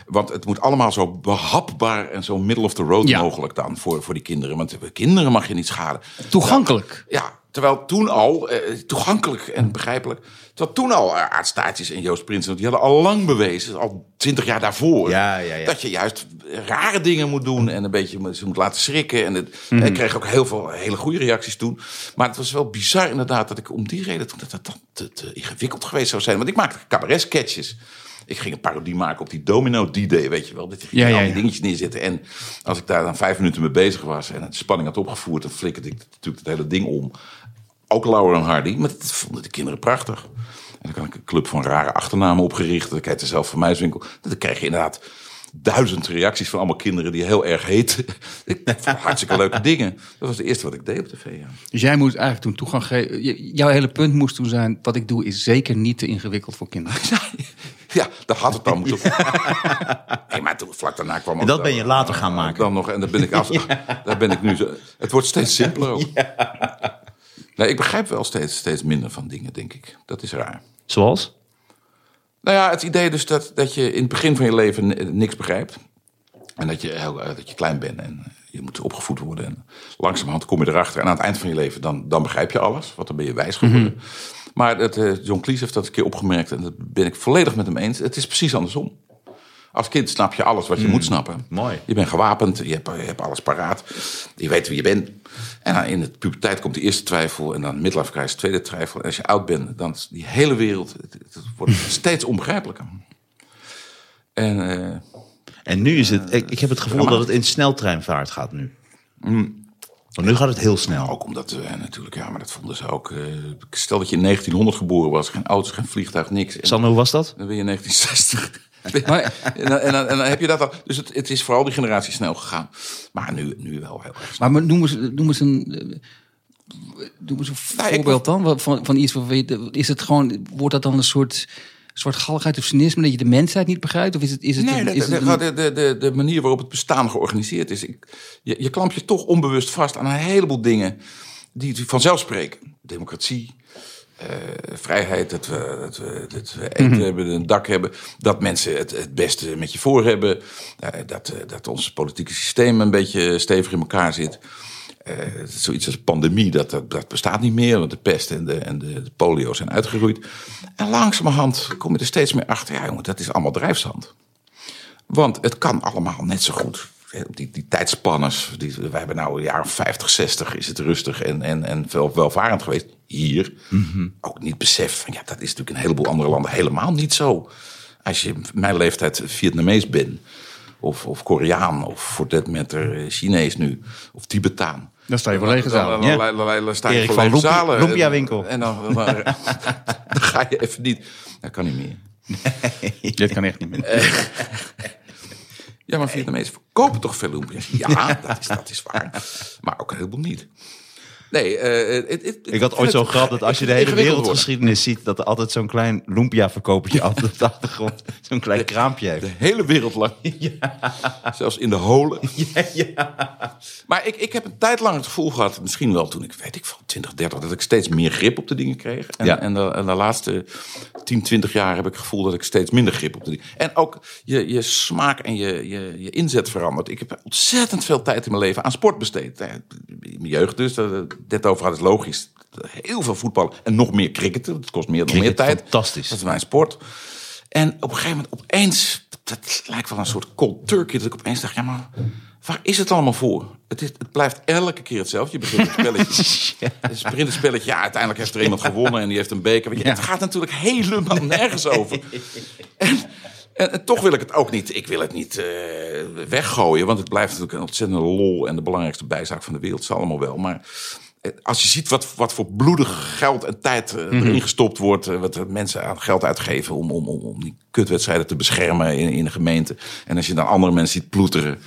Speaker 4: Want het moet allemaal zo behapbaar en zo middle of the road
Speaker 3: Ja.
Speaker 4: mogelijk dan... Voor, voor die kinderen, want de kinderen mag je niet schaden.
Speaker 3: Toegankelijk.
Speaker 4: Ja, terwijl toen al, eh, toegankelijk en begrijpelijk... terwijl toen al eh, Aad Staartjes en Joost Prinsen... die hadden al lang bewezen, al twintig jaar daarvoor...
Speaker 2: Ja, ja, ja.
Speaker 4: dat je juist rare dingen moet doen... en een beetje ze moet laten schrikken. En het,
Speaker 3: Mhm.
Speaker 4: ik kreeg ook heel veel hele goede reacties toen. Maar het was wel bizar inderdaad dat ik om die reden... toen dat dat dan te, te ingewikkeld geweest zou zijn. Want ik maakte cabaret-sketches... Ik ging een parodie maken op die Domino D-Day, weet je wel. Dat je
Speaker 3: Ja, ja,
Speaker 4: al die
Speaker 3: ja.
Speaker 4: dingetjes neerzetten. En als ik daar dan vijf minuten mee bezig was... en het spanning had opgevoerd... dan flikkerde ik natuurlijk het hele ding om. Ook Laura en Hardy, maar dat vonden de kinderen prachtig. En dan had ik een club van rare achternamen opgericht. Dat heette zelf van Muiswinkel. Dan kreeg je inderdaad duizend reacties van allemaal kinderen die heel erg heten. Ik vond hartstikke leuke dingen. Dat was het eerste wat ik deed op tv. Ja.
Speaker 3: Dus jij moest eigenlijk toen toegang geven. je- Jouw hele punt moest toen zijn, wat ik doe is zeker niet te ingewikkeld voor kinderen.
Speaker 4: Ja, daar had het dan moeten Nee, maar toen, vlak daarna kwam... ook
Speaker 2: dat
Speaker 4: dan-
Speaker 2: ben je later gaan
Speaker 4: dan-
Speaker 2: maken.
Speaker 4: Dan nog, en daar ben ik af. Daar ben ik nu... zo- Het wordt steeds simpeler ook. Nee, ik begrijp wel steeds, steeds minder van dingen, denk ik. Dat is raar.
Speaker 2: Zoals?
Speaker 4: Nou ja, het idee dus dat, dat je in het begin van je leven ni- niks begrijpt. En dat je, heel, eh, dat je klein bent en eh, je moet opgevoed worden. En langzamerhand kom je erachter. En aan het eind van je leven, dan, dan begrijp je alles. Want dan ben je wijs geworden. Maar dat, eh, John Cleese heeft dat een keer opgemerkt. En dat ben ik volledig met hem eens. Het is precies andersom. Als kind snap je alles wat je moet snappen.
Speaker 2: mooi.
Speaker 4: Je bent gewapend, je hebt, je hebt alles paraat. Je weet wie je bent. En dan in de puberteit komt de eerste twijfel. En dan midlife crisis, tweede twijfel. En als je oud bent, dan is die hele wereld... Het, het wordt steeds onbegrijpelijker. En... eh,
Speaker 2: En nu is het, ik, ik heb het gevoel dat het in sneltreinvaart gaat nu.
Speaker 4: Mm.
Speaker 2: Want nu gaat het heel snel.
Speaker 4: Ook omdat, eh, natuurlijk, ja, maar dat vonden ze ook. eh, stel dat je in 1900 geboren was, geen auto's, geen vliegtuig, niks. En
Speaker 2: Sander, hoe was dat?
Speaker 4: dan ben je 1960.
Speaker 3: Maar-
Speaker 4: en, dan, en, dan, en dan heb je dat al. Dus het, het is vooral die generatie snel gegaan. Maar nu, nu wel heel erg.
Speaker 3: Maar noem eens, noem eens een, eh, noem eens een
Speaker 4: Nou, ik-
Speaker 3: voorbeeld dan wat- van, van iets waarvan je- is het gewoon, wordt dat dan een soort, soort galligheid of cynisme dat je de mensheid niet begrijpt? Of is het, is het,
Speaker 4: Nee,
Speaker 3: een-
Speaker 4: de,
Speaker 3: is het een-
Speaker 4: de, de, de, de manier waarop het bestaan georganiseerd is. Ik, je, je klamp je toch onbewust vast aan een heleboel dingen die vanzelf spreken. Democratie, eh, vrijheid, dat we, dat we, dat we eten
Speaker 3: Mhm.
Speaker 4: hebben, een dak hebben. Dat mensen het, het beste met je voor hebben. eh, dat, eh, dat ons politieke systeem een beetje stevig in elkaar zit. Eh, zoiets als pandemie, dat, dat, dat bestaat niet meer. Want de pest en, de, en de, de polio zijn uitgeroeid. En langzamerhand kom je er steeds meer achter. Ja, jongen, dat is allemaal drijfzand. Want het kan allemaal net zo goed. Die, die tijdspanners, die, we hebben nou een jaar of 50, 60 is het rustig en, en, en wel, welvarend geweest. Hier ook niet besef. van, Ja, dat is natuurlijk in een heleboel andere landen helemaal niet zo. Als je mijn leeftijd Vietnamees bent, of, of Koreaan, of voor dat matter eh, Chinees nu, of Tibetaan.
Speaker 3: Dan sta je voor lege zalen.
Speaker 4: Dan-
Speaker 2: Ja.
Speaker 4: dan- dan- dan- dan sta je
Speaker 2: Erik
Speaker 4: voor
Speaker 2: van
Speaker 4: lege
Speaker 2: Loempia-
Speaker 4: zalen.
Speaker 2: Loempia-winkel.
Speaker 4: En dan, dan, dan- dan ga je even niet. Dat kan niet meer.
Speaker 3: Dit kan echt niet meer.
Speaker 4: Eh, Ja, maar Vietnamezen verkopen toch veel loempia's? Ja, dat is, dat is waar. Maar ook een heleboel niet. Nee, eh, het- het- het-
Speaker 2: Ik had ooit zo'n grap dat als je de hele
Speaker 4: ingewikkeld worden.
Speaker 2: wereldgeschiedenis ziet... dat er altijd zo'n klein lumpia-verkopertje af op de achtergrond zo'n klein kraampje heeft.
Speaker 4: De hele wereld lang. Zelfs in de holen. Maar ik, ik heb een tijd lang het gevoel gehad, misschien wel toen ik, weet ik van 20, 30, dat ik steeds meer grip op de dingen kreeg. En,
Speaker 2: Ja.
Speaker 4: en, de, en de laatste 10, 20 jaar heb ik het gevoel dat ik steeds minder grip op de dingen. En ook je, je smaak en je, je, je inzet verandert. Ik heb ontzettend veel tijd in mijn leven aan sport besteed. Eh, In mijn jeugd dus, dat dit over had, is logisch. Heel veel voetballen en nog meer cricketen. Dat kost meer dan meer
Speaker 2: Cricket,
Speaker 4: tijd.
Speaker 2: fantastisch.
Speaker 4: Dat is mijn sport. En op een gegeven moment, opeens, dat lijkt wel een soort cold turkey, dat ik opeens dacht, ja maar, waar is het allemaal voor? Het, is, het blijft elke keer hetzelfde. Je begint het spelletje, het sprint het spelletje, ja, uiteindelijk heeft er iemand gewonnen en die heeft een beker. Weet je, Het gaat natuurlijk helemaal nergens over. En, en toch wil ik het ook niet. Ik wil het niet eh, weggooien. Want het blijft natuurlijk een ontzettende lol. En de belangrijkste bijzaak van de wereld is allemaal wel. Maar eh, als je ziet wat, wat voor bloedig geld en tijd
Speaker 2: Mhm.
Speaker 4: eh, erin gestopt wordt. eh, wat er mensen aan geld uitgeven om, om, om, om die kutwedstrijden te beschermen in, in de gemeente. En als je dan andere mensen ziet ploeteren.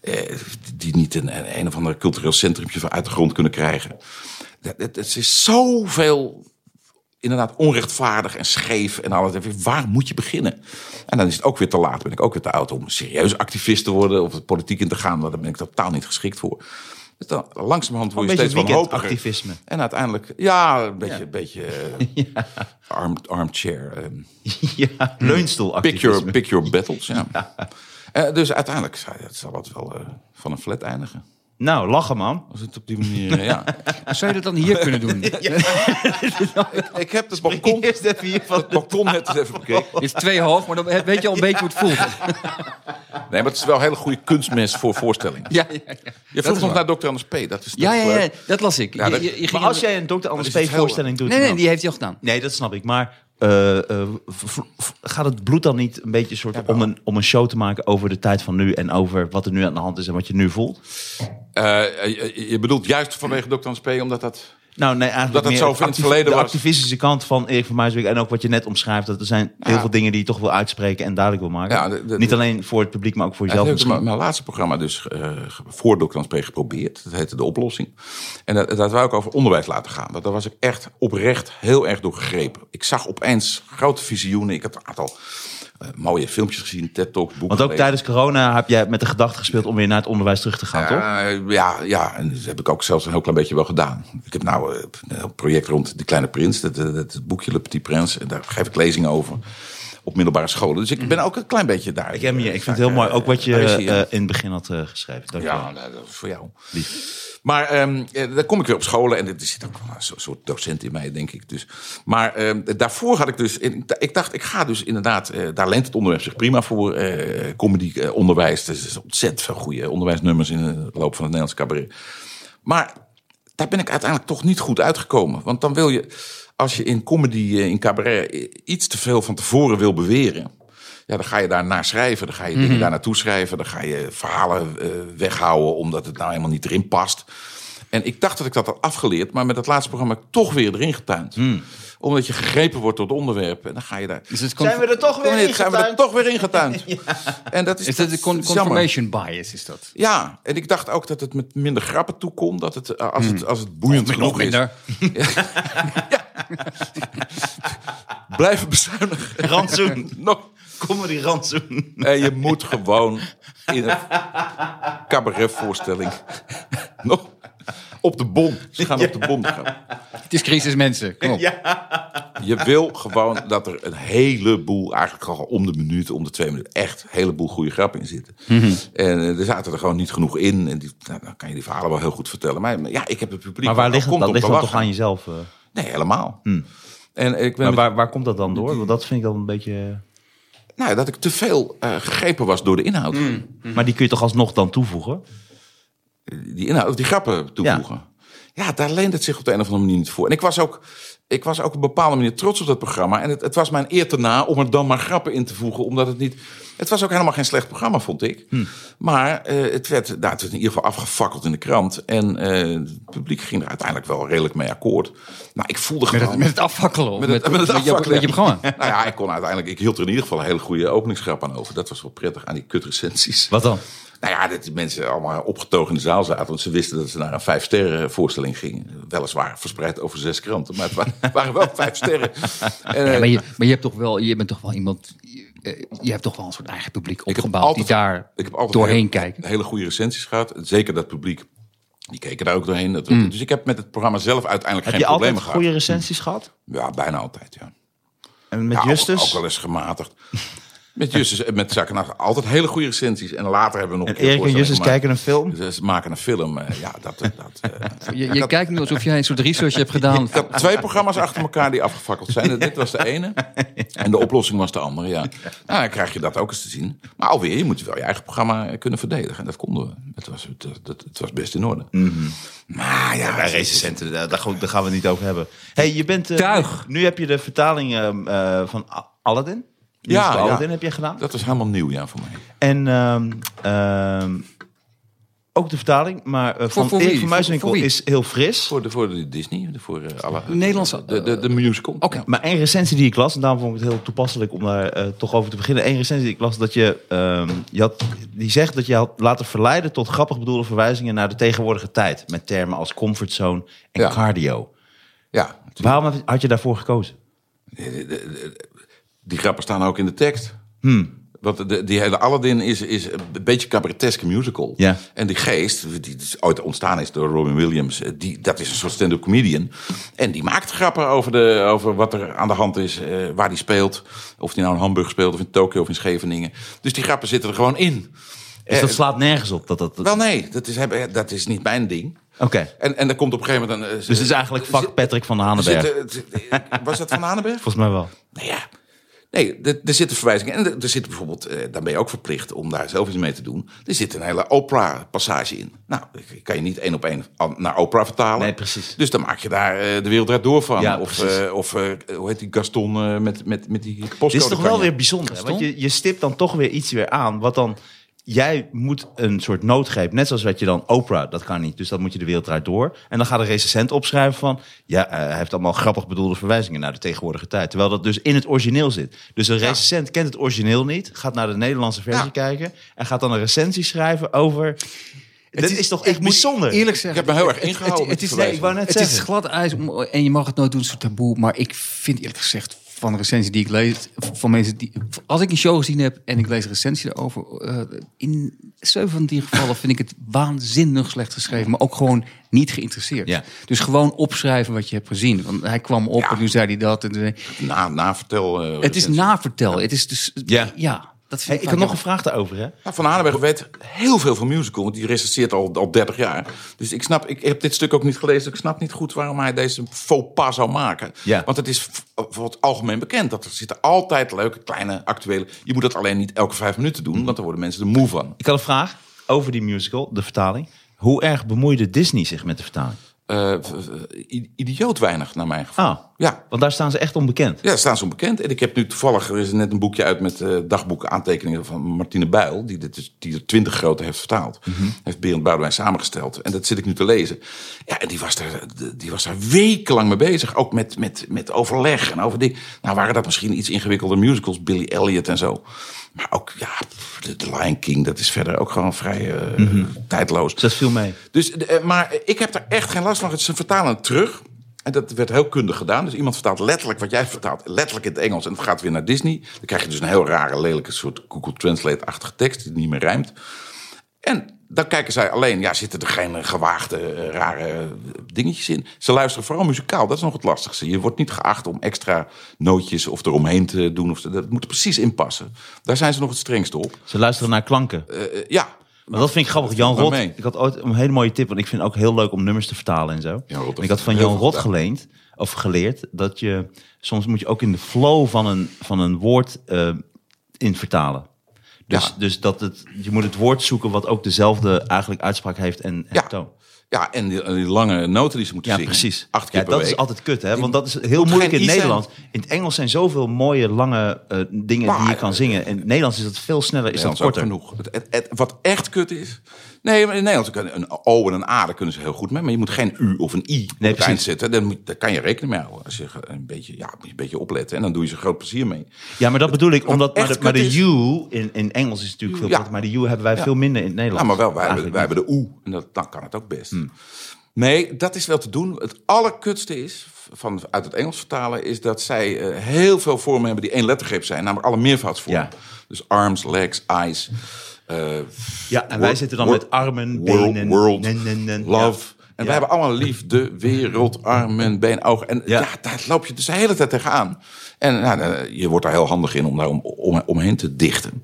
Speaker 4: eh, die niet een, een, een of ander cultureel centrumpje van uit de grond kunnen krijgen. Dat- Het het is zoveel inderdaad onrechtvaardig en scheef en alles. Waar moet je beginnen? En dan is het ook weer te laat. Ben ik ook weer te oud om serieus activist te worden of de politiek in te gaan. want Daar ben ik totaal niet geschikt voor. Dus dan, langzamerhand word je
Speaker 2: Een beetje
Speaker 4: steeds wanhopiger.
Speaker 2: weekendactivisme.
Speaker 4: En uiteindelijk, ja, een beetje, een beetje eh, arm, armchair. eh,
Speaker 2: Ja, leunstoel
Speaker 4: pick, your, pick your battles, ja. Eh, dus uiteindelijk zou- het zal dat wel eh, van een flat eindigen.
Speaker 2: Nou, lachen man.
Speaker 4: Als het op die manier, eh, ja.
Speaker 3: Ah, Zou je dat dan hier kunnen doen?
Speaker 4: Ik heb het balkon,
Speaker 2: Eerst even hier van
Speaker 4: het balkon net eens even bekeken.
Speaker 3: Is twee hoog, maar dan weet je al een beetje hoe het voelt.
Speaker 4: Nee, maar het is wel een hele goede kunstmest voor voorstellingen.
Speaker 3: Ja, ja, ja.
Speaker 4: Je
Speaker 3: Dat
Speaker 4: vroeg
Speaker 3: is
Speaker 4: nog
Speaker 3: waar.
Speaker 4: naar Dr. Anders P. Dat is
Speaker 3: Ja,
Speaker 4: toch,
Speaker 3: ja, ja,
Speaker 4: eh,
Speaker 3: dat las ik.
Speaker 4: Ja,
Speaker 3: Je-
Speaker 4: dat-
Speaker 3: je- je ging-
Speaker 2: Maar als jij een Dr. Anders
Speaker 4: is het
Speaker 2: P. voorstelling doet...
Speaker 3: Nee, nee,
Speaker 2: dan-
Speaker 3: die heeft hij al gedaan.
Speaker 2: Nee, dat snap ik. Maar eh, eh, v- v- gaat het bloed dan niet een beetje soort om, een, om een show te maken over de tijd van nu en over wat er nu aan de hand is en wat je nu voelt?
Speaker 4: eh, je, je bedoelt juist vanwege Dr. Anders P. omdat dat...
Speaker 2: Nou, nee, eigenlijk
Speaker 4: Dat het
Speaker 2: meer
Speaker 4: zo in het
Speaker 2: activi-
Speaker 4: verleden
Speaker 2: de
Speaker 4: was.
Speaker 2: activistische kant van Erik van Muiswijk en ook wat je net omschrijft. Dat er zijn heel veel dingen die je toch wil uitspreken en duidelijk wil maken.
Speaker 4: Ja, de- de-
Speaker 2: niet alleen voor het publiek, maar ook voor
Speaker 4: Ik
Speaker 2: jezelf.
Speaker 4: heb
Speaker 2: misschien.
Speaker 4: mijn, mijn laatste programma dus eh, ge- voor Dr. Anders P. geprobeerd. Dat heette De Oplossing. En dat, dat wou ik over onderwijs laten gaan. Want daar was ik echt oprecht heel erg door gegrepen. Ik zag opeens grote visioenen. Ik had een aantal eh, mooie filmpjes gezien, TED-talks, boeken
Speaker 2: Want ook
Speaker 4: gelezen.
Speaker 2: tijdens corona heb jij met de gedachte gespeeld om weer naar het onderwijs terug te gaan, toch?
Speaker 4: Eh, ja, ja, en dat heb ik ook zelfs een heel klein beetje wel gedaan. Ik heb nou eh, een heel project rond De Kleine Prins, dat, dat, dat boekje Le Petit Prins. En daar geef ik lezingen over op middelbare scholen. Dus ik ben ook een klein beetje daar.
Speaker 2: Mhm. Ik ken je. Ik vind het heel mooi. Ook wat je
Speaker 4: Daar is hij, ja.
Speaker 2: eh, in het begin had eh, geschreven. Dank je wel.
Speaker 4: Ja, nou, dat is voor jou. Maar ehm, eh, dan kom ik weer op scholen en er zit ook wel een soort- soort docent in mij, denk ik. Dus. Maar ehm, daarvoor had ik dus, in- ik dacht, ik ga dus inderdaad, eh, daar leent het onderwerp zich prima voor, eh comedy, eh, onderwijs. Dus er zijn ontzettend veel goede onderwijsnummers in de loop van het Nederlands cabaret. Maar daar ben ik uiteindelijk toch niet goed uitgekomen. Want dan wil je, als je in comedy, eh, in cabaret, eh, iets te veel van tevoren wil beweren. Ja, dan ga je daar naar schrijven, dan ga je
Speaker 3: Mhm.
Speaker 4: dingen daar naartoe schrijven, dan ga je verhalen eh, weghouden omdat het nou helemaal niet erin past. En ik dacht dat ik dat had afgeleerd, maar met dat laatste programma heb ik toch weer erin getuind. Omdat je gegrepen wordt door het onderwerp en dan ga je daar.
Speaker 3: Hmm. Is Dus het con-
Speaker 2: Zijn we er toch weer
Speaker 4: Meneer,
Speaker 2: in
Speaker 4: zijn we er toch weer ingetuind? En dat is,
Speaker 3: is dat de con-
Speaker 4: is jammer.
Speaker 3: confirmation bias? Is dat?
Speaker 4: Ja, en ik dacht ook dat het met minder grappen toe kon. Dat het, eh, als, het, als het boeiend genoeg
Speaker 3: Hmm. Nog minder.
Speaker 4: is. Blijven bezuinigen.
Speaker 2: Rantsoen.
Speaker 4: Nog.
Speaker 2: Comedy rantsoen.
Speaker 4: En je moet gewoon in een cabaretvoorstelling nog op de bom. Ze gaan op de bom. gaan.
Speaker 3: Het is crisis, mensen. Kom op.
Speaker 4: Je wil gewoon dat er een heleboel, eigenlijk al om de minuut, om de twee minuten, echt een heleboel goede grappen in zitten.
Speaker 2: Mhm.
Speaker 4: En eh, er zaten er gewoon niet genoeg in. En die, nou, dan kan je die verhalen wel heel goed vertellen. Maar maar ja, ik heb het publiek.
Speaker 2: Maar waar
Speaker 4: dat
Speaker 2: ligt
Speaker 4: komt
Speaker 2: dat? Dat
Speaker 4: om
Speaker 2: ligt
Speaker 4: te
Speaker 2: dan toch
Speaker 4: lachen.
Speaker 2: aan jezelf? eh?
Speaker 4: Nee, helemaal. En ik ben
Speaker 2: Maar
Speaker 4: met-
Speaker 2: waar, waar komt dat dan door? Want dat vind ik dan een beetje...
Speaker 4: nou, dat ik te veel eh, gegrepen was door de inhoud. Hm.
Speaker 2: Maar die kun je toch alsnog dan toevoegen?
Speaker 4: Die inhoud, die grappen toevoegen. Ja. daar leent het zich op de een of andere manier niet voor. En ik was ook, ik was ook op een bepaalde manier trots op dat programma. En het, het was mijn eer te na om er dan maar grappen in te voegen. Omdat het niet... Het was ook helemaal geen slecht programma, vond ik.
Speaker 3: Hm.
Speaker 4: Maar eh, het, werd, nou, het werd in ieder geval afgefakkeld in de krant. En eh, het publiek ging er uiteindelijk wel redelijk mee akkoord. Nou, ik voelde
Speaker 3: Met
Speaker 4: gewoon...
Speaker 3: het, met het afvakkelen. of
Speaker 4: Met het- met het
Speaker 3: je-
Speaker 4: afvakkelen.
Speaker 3: met je programma.
Speaker 4: Nou ja, ik kon uiteindelijk... Ik hield er in ieder geval een hele goede openingsgrap aan over. Dat was wel prettig aan die kutrecensies.
Speaker 2: Wat dan?
Speaker 4: Nou ja, dat die mensen allemaal opgetogen in de zaal zaten. Want ze wisten dat ze naar een vijf sterren voorstelling gingen. Weliswaar verspreid over zes kranten. Maar het wa- waren wel vijf sterren. En, eh,
Speaker 3: Ja, maar, je, maar je, hebt toch wel, je bent toch wel iemand... eh, Je hebt toch wel een soort eigen publiek opgebouwd
Speaker 4: altijd-
Speaker 3: die daar
Speaker 4: ik heb altijd
Speaker 3: doorheen
Speaker 4: hele,
Speaker 3: kijkt.
Speaker 4: Hele goede recensies gehad. Zeker dat publiek. Die keken daar ook doorheen. Dat, Dus ik heb met het programma zelf uiteindelijk
Speaker 2: Hmm. Heb je
Speaker 4: geen
Speaker 2: altijd
Speaker 4: problemen gehad.
Speaker 2: goede recensies gehad?
Speaker 4: Ja, bijna altijd, ja.
Speaker 2: En met
Speaker 4: Ja, ook-
Speaker 2: Justus?
Speaker 4: Ook, wel eens gematigd. Met Justus en met Zak en Nacht. Altijd hele goede recensies. En later hebben we nog
Speaker 2: en
Speaker 4: een keer
Speaker 2: Erik en Justus
Speaker 4: voorstelling
Speaker 2: kijken een film?
Speaker 4: gemaakt. Ze maken een film. eh, Ja, dat... dat eh,
Speaker 3: Je, je kijkt nu alsof jij een soort research hebt gedaan.
Speaker 4: ik had twee programma's achter elkaar die afgefakkeld zijn. En dit was de ene. En de oplossing was de andere, ja. Nou, dan krijg je dat ook eens te zien. Maar alweer, je moet wel je eigen programma eh, kunnen verdedigen. En dat konden we. Het was, het, het, het was best in orde. Maar ja...
Speaker 2: Bij recensenten, daar, daar gaan- daar gaan we het niet over hebben. Hey, je bent... eh,
Speaker 4: Tuig.
Speaker 2: Nu heb je de vertaling ehm, eh, van A- Aladdin. De
Speaker 4: Ja,
Speaker 2: musical
Speaker 4: ja.
Speaker 2: Aladdin heb je gedaan.
Speaker 4: Dat was helemaal nieuw, ja, voor mij.
Speaker 2: En ehm, ehm, ook de vertaling, maar eh, van
Speaker 3: voor
Speaker 2: Erik
Speaker 3: wie?
Speaker 2: van
Speaker 3: Voor-
Speaker 2: Muiswinkel
Speaker 3: voor wie?
Speaker 2: is heel fris.
Speaker 4: Voor de, voor de Disney, de- voor eh, alle...
Speaker 3: Nederlandse-
Speaker 4: De, de, de musical.
Speaker 3: Oké.
Speaker 2: Maar één recensie die ik las, en daarom vond ik het heel toepasselijk om daar eh, toch over te beginnen. Eén recensie die ik las, dat je, ehm, je had, die zegt dat je had laten verleiden tot grappig bedoelde verwijzingen naar de tegenwoordige tijd. Met termen als comfortzone en
Speaker 4: Ja.
Speaker 2: cardio.
Speaker 4: Ja,
Speaker 2: Waarom had- had je daarvoor gekozen?
Speaker 4: die grappen staan ook in de tekst.
Speaker 2: Hmm.
Speaker 4: Want de, die hele Aladdin is, is een beetje cabareteske musical.
Speaker 2: Ja.
Speaker 4: En die geest, die dus ooit ontstaan is door Robin Williams... eh, Die, dat is een soort stand-up comedian. En die maakt grappen over, de, over wat er aan de hand is, eh, waar die speelt. Of die nou in Hamburg speelt, of in Tokio, of in Scheveningen. Dus die grappen zitten er gewoon in.
Speaker 2: Dus dat slaat nergens op. Dat, dat, dat-
Speaker 4: Eh, Wel nee, dat is, eh, dat is niet mijn ding.
Speaker 2: Oké,
Speaker 4: En, en dan komt op een gegeven moment... Een, eh,
Speaker 2: dus het is eigenlijk vak Patrick van Hanenberg.
Speaker 4: zit- zit- was dat van Hanenberg?
Speaker 2: Volgens mij wel.
Speaker 4: Nou ja, nee, er, er zitten verwijzingen. En er, er zit bijvoorbeeld, eh, daar ben je ook verplicht om daar zelf iets mee te doen. Er zit een hele Oprah-passage in. Nou, ik kan je niet één op één an- naar Oprah vertalen.
Speaker 2: Nee, precies.
Speaker 4: Dus dan maak je daar eh, de wereld draait door van.
Speaker 2: Ja,
Speaker 4: of
Speaker 2: precies.
Speaker 4: eh, of eh, hoe heet die Gaston eh, met, met, met die postcode?
Speaker 2: Dit is toch
Speaker 4: kan
Speaker 2: wel
Speaker 4: je-
Speaker 2: weer bijzonder. hè? Want je, je stipt dan toch weer iets weer aan. Wat dan, jij moet een soort noodgreep. Net zoals wat je dan Oprah, dat kan niet. Dus dat moet je de wereld eruit door. En dan gaat de recensent opschrijven van... Ja, eh, hij heeft allemaal grappig bedoelde verwijzingen naar de tegenwoordige tijd. Terwijl dat dus in het origineel zit. Dus een recensent kent het origineel niet. Gaat naar de Nederlandse versie
Speaker 4: Ja.
Speaker 2: kijken. En gaat dan een recensie schrijven over... Dit is, toch echt
Speaker 3: ik moet
Speaker 2: bijzonder?
Speaker 3: Eerlijk zeggen,
Speaker 4: Ik heb me heel erg
Speaker 3: het- het-
Speaker 4: ingehouden
Speaker 3: Het,
Speaker 4: met
Speaker 3: het
Speaker 4: die
Speaker 3: is,
Speaker 2: Nee, ik wou net
Speaker 3: het
Speaker 2: zeggen.
Speaker 3: is glad ijs om- en je mag het nooit doen, een soort taboe. Maar ik vind eerlijk gezegd van de recensie die ik lees, van mensen die. Als ik een show gezien heb en ik lees een recensie daarover, eh, in zeven van die gevallen vind ik het waanzinnig slecht geschreven, maar ook gewoon niet geïnteresseerd.
Speaker 2: Ja.
Speaker 3: Dus gewoon opschrijven wat je hebt gezien. Want hij kwam op
Speaker 4: Ja.
Speaker 3: en nu zei hij dat. En, toen zei-
Speaker 4: Na, na vertel. eh,
Speaker 3: het is
Speaker 4: recensie.
Speaker 3: navertel. Het is dus.
Speaker 2: Ja.
Speaker 3: Ja. dat vind
Speaker 2: Hey,
Speaker 3: ik
Speaker 2: ik
Speaker 3: vaak
Speaker 2: had nog een
Speaker 3: jammer.
Speaker 2: vraag daarover, hè?
Speaker 4: Ja, Nou, van Hanenberg weet heel veel van musical, want die recenseert al, al 30 jaar. Dus ik snap, ik heb dit stuk ook niet gelezen. dus Ik snap niet goed waarom hij deze faux pas zou maken.
Speaker 2: Ja.
Speaker 4: Want het is v- voor het algemeen bekend dat er zitten altijd leuke, kleine, actuele. Je moet dat alleen niet elke vijf minuten
Speaker 2: Mm.
Speaker 4: doen, want dan worden mensen er moe van.
Speaker 2: Ik had een vraag over die musical, de vertaling. Hoe erg bemoeide Disney zich met de vertaling?
Speaker 4: Eh, v- v- i- idioot weinig, naar mijn gevoel.
Speaker 2: Ah,
Speaker 4: Ja.
Speaker 2: want daar staan ze echt onbekend.
Speaker 4: Ja, staan ze onbekend. En ik heb nu toevallig, er is net een boekje uit met eh dagboeken aantekeningen van Martine Bijl. Die, dit dus, die er twintig grote heeft vertaald. Heeft Berend Boudewijn samengesteld. En dat zit ik nu te lezen. Ja, en die was daar, die was daar wekenlang mee bezig. Ook met, met, met overleg en over dingen. Nou waren dat misschien iets ingewikkelde musicals. Billy Elliot en zo. Maar ook, ja, pff, The Lion King. Dat is verder ook gewoon vrij eh, tijdloos.
Speaker 2: Dus dat viel mee.
Speaker 4: Dus, eh, maar ik heb daar echt geen last van. Ze vertalen het terug. En dat werd heel kundig gedaan. Dus iemand vertaalt letterlijk wat jij vertaalt, letterlijk in het Engels. En het gaat weer naar Disney. Dan krijg je dus een heel rare, lelijke soort Google Translate-achtige tekst die niet meer rijmt. En dan kijken zij alleen, ja, zitten er geen eh, gewaagde, eh, rare eh, dingetjes in. Ze luisteren vooral muzikaal, dat is nog het lastigste. Je wordt niet geacht om extra nootjes of eromheen te doen. Of, zo. dat moet er precies in passen. Daar zijn ze nog het strengst op.
Speaker 2: Ze luisteren naar klanken.
Speaker 4: Eh, ja,
Speaker 2: maar dat vind ik grappig. Jan
Speaker 4: maar
Speaker 2: Rot,
Speaker 4: mee.
Speaker 2: ik had ooit een hele mooie tip, want ik vind het ook heel leuk om nummers te vertalen en zo.
Speaker 4: Jan Rot
Speaker 2: en ik had van
Speaker 4: heeft heel
Speaker 2: Jan
Speaker 4: veel
Speaker 2: Rot
Speaker 4: gedaan.
Speaker 2: geleend, of geleerd, dat je soms moet je ook in de flow van een, van een woord eh, in vertalen. Dus,
Speaker 4: Ja.
Speaker 2: dus dat het, je moet het woord zoeken wat ook dezelfde eigenlijk uitspraak heeft en, en
Speaker 4: Ja.
Speaker 2: toon.
Speaker 4: Ja, en die, en die lange noten die ze moeten
Speaker 2: Ja,
Speaker 4: zingen.
Speaker 2: precies.
Speaker 4: Acht keer
Speaker 2: ja,
Speaker 4: per
Speaker 2: dat
Speaker 4: week.
Speaker 2: is altijd kut, hè?
Speaker 4: Die
Speaker 2: Want dat is heel
Speaker 4: moet
Speaker 2: moeilijk
Speaker 4: geen
Speaker 2: in
Speaker 4: i zijn.
Speaker 2: Nederland. In het Engels zijn zoveel mooie, lange eh, dingen
Speaker 4: Maar,
Speaker 2: die je kan
Speaker 4: eh,
Speaker 2: zingen. In het Nederlands is dat veel sneller, is dat
Speaker 4: Nederlands ook
Speaker 2: korter.
Speaker 4: genoeg. Het, het- het- wat echt kut is. Nee, maar in Nederland kan een O en een A, daar kunnen ze heel goed mee. Maar je moet geen U of een I op het eind
Speaker 2: precies.
Speaker 4: zetten. Dan moet- Daar kan je rekening mee houden. Als je ge- een beetje, ja, moet je een beetje opletten. En dan doe je ze groot plezier mee.
Speaker 2: Ja, maar dat bedoel ik, omdat maar
Speaker 4: echt
Speaker 2: de, maar
Speaker 4: kut
Speaker 2: de
Speaker 4: is-
Speaker 2: U in, in Engels is natuurlijk veel
Speaker 4: Ja.
Speaker 2: korter, maar de U hebben wij
Speaker 4: Ja.
Speaker 2: veel minder in het
Speaker 4: Ja,
Speaker 2: Nederlands.
Speaker 4: Nou, maar wel, wij, hebben,
Speaker 2: Eigenlijk
Speaker 4: wij hebben de oe. En dat, dan kan het ook best. Nee, dat is wel te doen. Het allerkutste is, van, uit het Engels vertalen, is dat zij eh, heel veel vormen hebben die één lettergreep zijn. Namelijk alle meervoudsvormen.
Speaker 2: Ja.
Speaker 4: Dus arms, legs, eyes. eh,
Speaker 2: niet. Ja, en wij
Speaker 4: World-
Speaker 2: zitten dan
Speaker 4: world-
Speaker 2: met armen,
Speaker 4: world-
Speaker 2: benen,
Speaker 4: world,
Speaker 2: nen, nen, nen.
Speaker 4: love.
Speaker 2: Ja.
Speaker 4: En
Speaker 2: Ja.
Speaker 4: wij hebben allemaal liefde, wereld, armen, been, ogen. En
Speaker 2: Ja.
Speaker 4: ja. daar loop je dus de hele tijd tegenaan. En nou, nou, je wordt daar heel handig in om daar om, om, omheen te dichten.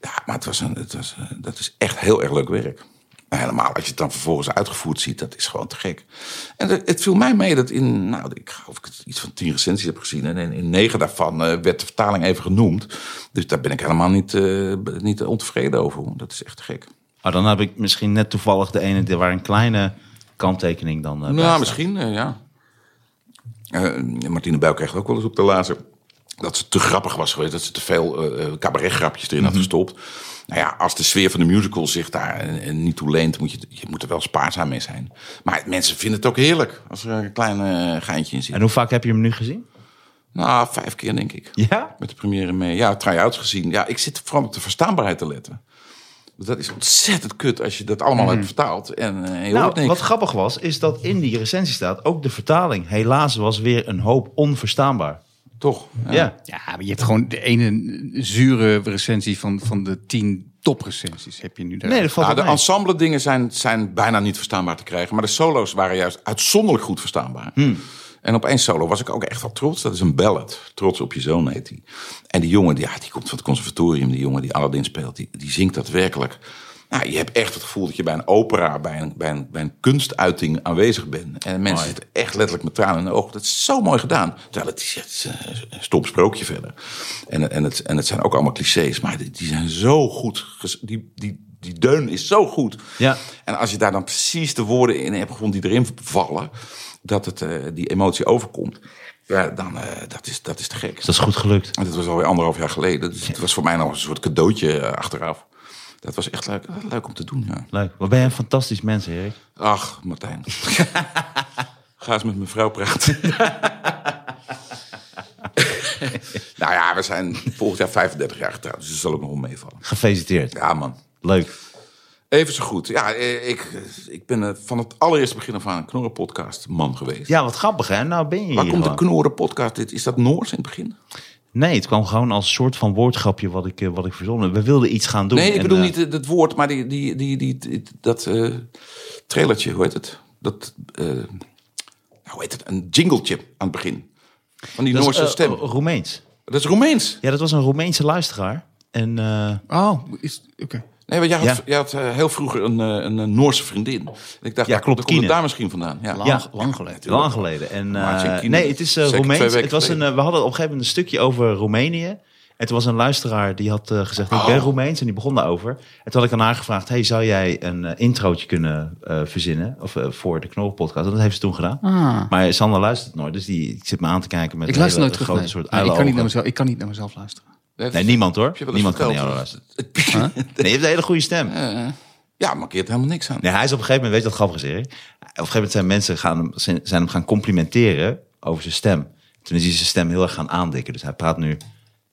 Speaker 4: Ja, maar het was een, het was, een- dat is echt heel erg leuk werk. Maar helemaal als je het dan vervolgens uitgevoerd ziet, dat is gewoon te gek. En het, het viel mij mee dat in, nou, ik geloof ik iets van tien recensies heb gezien. En in, in negen daarvan eh, werd de vertaling even genoemd. Dus daar ben ik helemaal niet, eh, niet ontevreden over. Dat is echt te gek.
Speaker 2: Maar Ah, dan heb ik misschien net toevallig de ene die- waar een kleine kanttekening dan eh, bij
Speaker 4: Nou,
Speaker 2: staat.
Speaker 4: misschien, eh, ja. Eh, Martine Bijl kreeg ook wel eens op de lazer dat ze te grappig was geweest. Dat ze te veel eh, eh, cabaretgrapjes erin
Speaker 2: Mhm.
Speaker 4: had gestopt. Nou ja, als de sfeer van de musical zich daar eh, eh, niet toe leent... Moet je, je moet er wel spaarzaam mee zijn. Maar mensen vinden het ook heerlijk als er een klein eh, geintje in zit.
Speaker 2: En hoe vaak heb je hem nu gezien?
Speaker 4: Nou, vijf keer denk ik.
Speaker 2: Ja?
Speaker 4: Met de première mee. Ja, try-outs gezien. Ja, ik zit vooral op de verstaanbaarheid te letten. Dat is ontzettend kut als je dat allemaal hebt vertaald. En eh, je hoort
Speaker 2: Mhm. Nou,
Speaker 4: niks.
Speaker 2: wat grappig was, is dat in die recensie staat ook de vertaling. Helaas was weer een hoop onverstaanbaar.
Speaker 4: Toch?
Speaker 2: Ja.
Speaker 3: Ja, maar je hebt gewoon de ene zure recensie van, van de tien toprecensies heb je nu daar.
Speaker 2: Nee, dat valt
Speaker 4: Ja,
Speaker 2: wel
Speaker 4: Nou, de
Speaker 2: mee.
Speaker 4: ensemble dingen zijn, zijn bijna niet verstaanbaar te krijgen. Maar de solo's waren juist uitzonderlijk goed verstaanbaar.
Speaker 2: Hmm.
Speaker 4: En op één solo was ik ook echt wel trots. Dat is een ballad. Trots op je zoon heet die. En die jongen, die, ja, die komt van het conservatorium. Die jongen die Aladdin speelt, die, die zingt dat werkelijk. Nou, je hebt echt het gevoel dat je bij een opera, bij een, bij een, bij een kunstuiting aanwezig bent. En mensen zitten echt letterlijk met tranen in de ogen. Dat is zo mooi gedaan. Terwijl het is, het is een stom sprookje verder. En, en, het, en het zijn ook allemaal clichés. Maar die, die zijn zo goed. ges- Die, die, die deun is zo goed.
Speaker 2: Ja.
Speaker 4: En als je daar dan precies de woorden in hebt gevonden die erin vallen, dat het, eh, die emotie overkomt, ja, dan eh, dat is dat is te gek.
Speaker 2: Dus dat is goed gelukt.
Speaker 4: En dat was alweer anderhalf jaar geleden. Dus het was voor mij nog een soort cadeautje eh, achteraf. Dat was echt leuk, eh, leuk om te doen. Ja.
Speaker 2: Leuk. Wat ben je een fantastisch mens, Erik.
Speaker 4: Ach, Martijn. Ga eens met mijn vrouw praten. nou ja, we zijn volgend jaar 35 jaar getrouwd, dus dat zal ook nog wel meevallen.
Speaker 2: Gefeliciteerd.
Speaker 4: Ja, man.
Speaker 2: Leuk.
Speaker 4: Even zo goed. Ja, eh, ik, ik ben eh, van het allereerste begin af aan een knorrenpodcast man geweest.
Speaker 2: Ja, wat grappig, hè? Nou ben je
Speaker 4: Waar
Speaker 2: hier
Speaker 4: komt de
Speaker 2: gewoon.
Speaker 4: knorrenpodcast? Dit- Is dat Noors in het begin?
Speaker 2: Nee, het kwam gewoon als soort van woordgrapje wat ik, eh, wat ik verzonnen. We wilden iets gaan doen.
Speaker 4: Nee, ik
Speaker 2: en,
Speaker 4: bedoel
Speaker 2: eh,
Speaker 4: niet het, het woord, maar die, die, die, die, die- dat eh trailertje, hoe heet het? Dat, eh, nou, hoe heet het? Een jingletje aan het begin. Van die
Speaker 2: dat is,
Speaker 4: Noorse
Speaker 2: eh,
Speaker 4: stem.
Speaker 2: Roemeens.
Speaker 4: Dat is Roemeens.
Speaker 2: Ja, dat was een Roemeense luisteraar. En eh,
Speaker 3: Oh, is, oké.
Speaker 4: Nee, want jij had,
Speaker 2: Ja.
Speaker 4: jij had eh, heel vroeger een, eh, een eh, Noorse vriendin. En ik dacht,
Speaker 2: Ja,
Speaker 4: ja,
Speaker 2: klopt,
Speaker 4: komt het
Speaker 2: Kine.
Speaker 4: daar misschien vandaan. Ja.
Speaker 3: Lang,
Speaker 2: Ja.
Speaker 3: lang geleden.
Speaker 2: lang geleden. En, eh,
Speaker 4: Maarten Kiener.
Speaker 2: nee, het is eh
Speaker 4: Zeker twee
Speaker 2: Roemeens.
Speaker 4: weken
Speaker 2: Het was een,
Speaker 4: geleden.
Speaker 2: eh, we hadden op een gegeven moment een stukje over Roemenië. En toen was een luisteraar die had eh, gezegd, ik ben
Speaker 4: Oh.
Speaker 2: Roemeens. En die begon daarover. En toen had ik aan haar gevraagd, hey, zou jij een eh, introotje kunnen eh, verzinnen? Of eh, voor de Knorrelpodcast. En dat heeft ze toen gedaan.
Speaker 3: Ah.
Speaker 2: Maar Sander luistert nooit, dus die ik zit me aan te kijken met
Speaker 3: Ik
Speaker 2: een
Speaker 3: luister
Speaker 2: hele
Speaker 3: nooit terug.
Speaker 2: grote
Speaker 3: Nee.
Speaker 2: soort
Speaker 3: Nee, ik, kan niet
Speaker 2: uilenogen.
Speaker 3: naar mezelf, ik kan niet naar mezelf luisteren.
Speaker 2: Nee, niemand hoor.
Speaker 4: Heb je wel eens
Speaker 2: Niemand kan naar jou
Speaker 4: verteld?
Speaker 2: luisteren. Nee, je hebt een hele goede stem.
Speaker 4: Eh, ja, mankeert helemaal niks aan.
Speaker 2: Nee, hij is op een gegeven moment, weet je wat grappig is Erik? Op een gegeven moment zijn mensen gaan, hem- zijn zijn hem gaan complimenteren over zijn stem. Toen is hij zijn stem heel erg gaan aandikken. Dus hij praat nu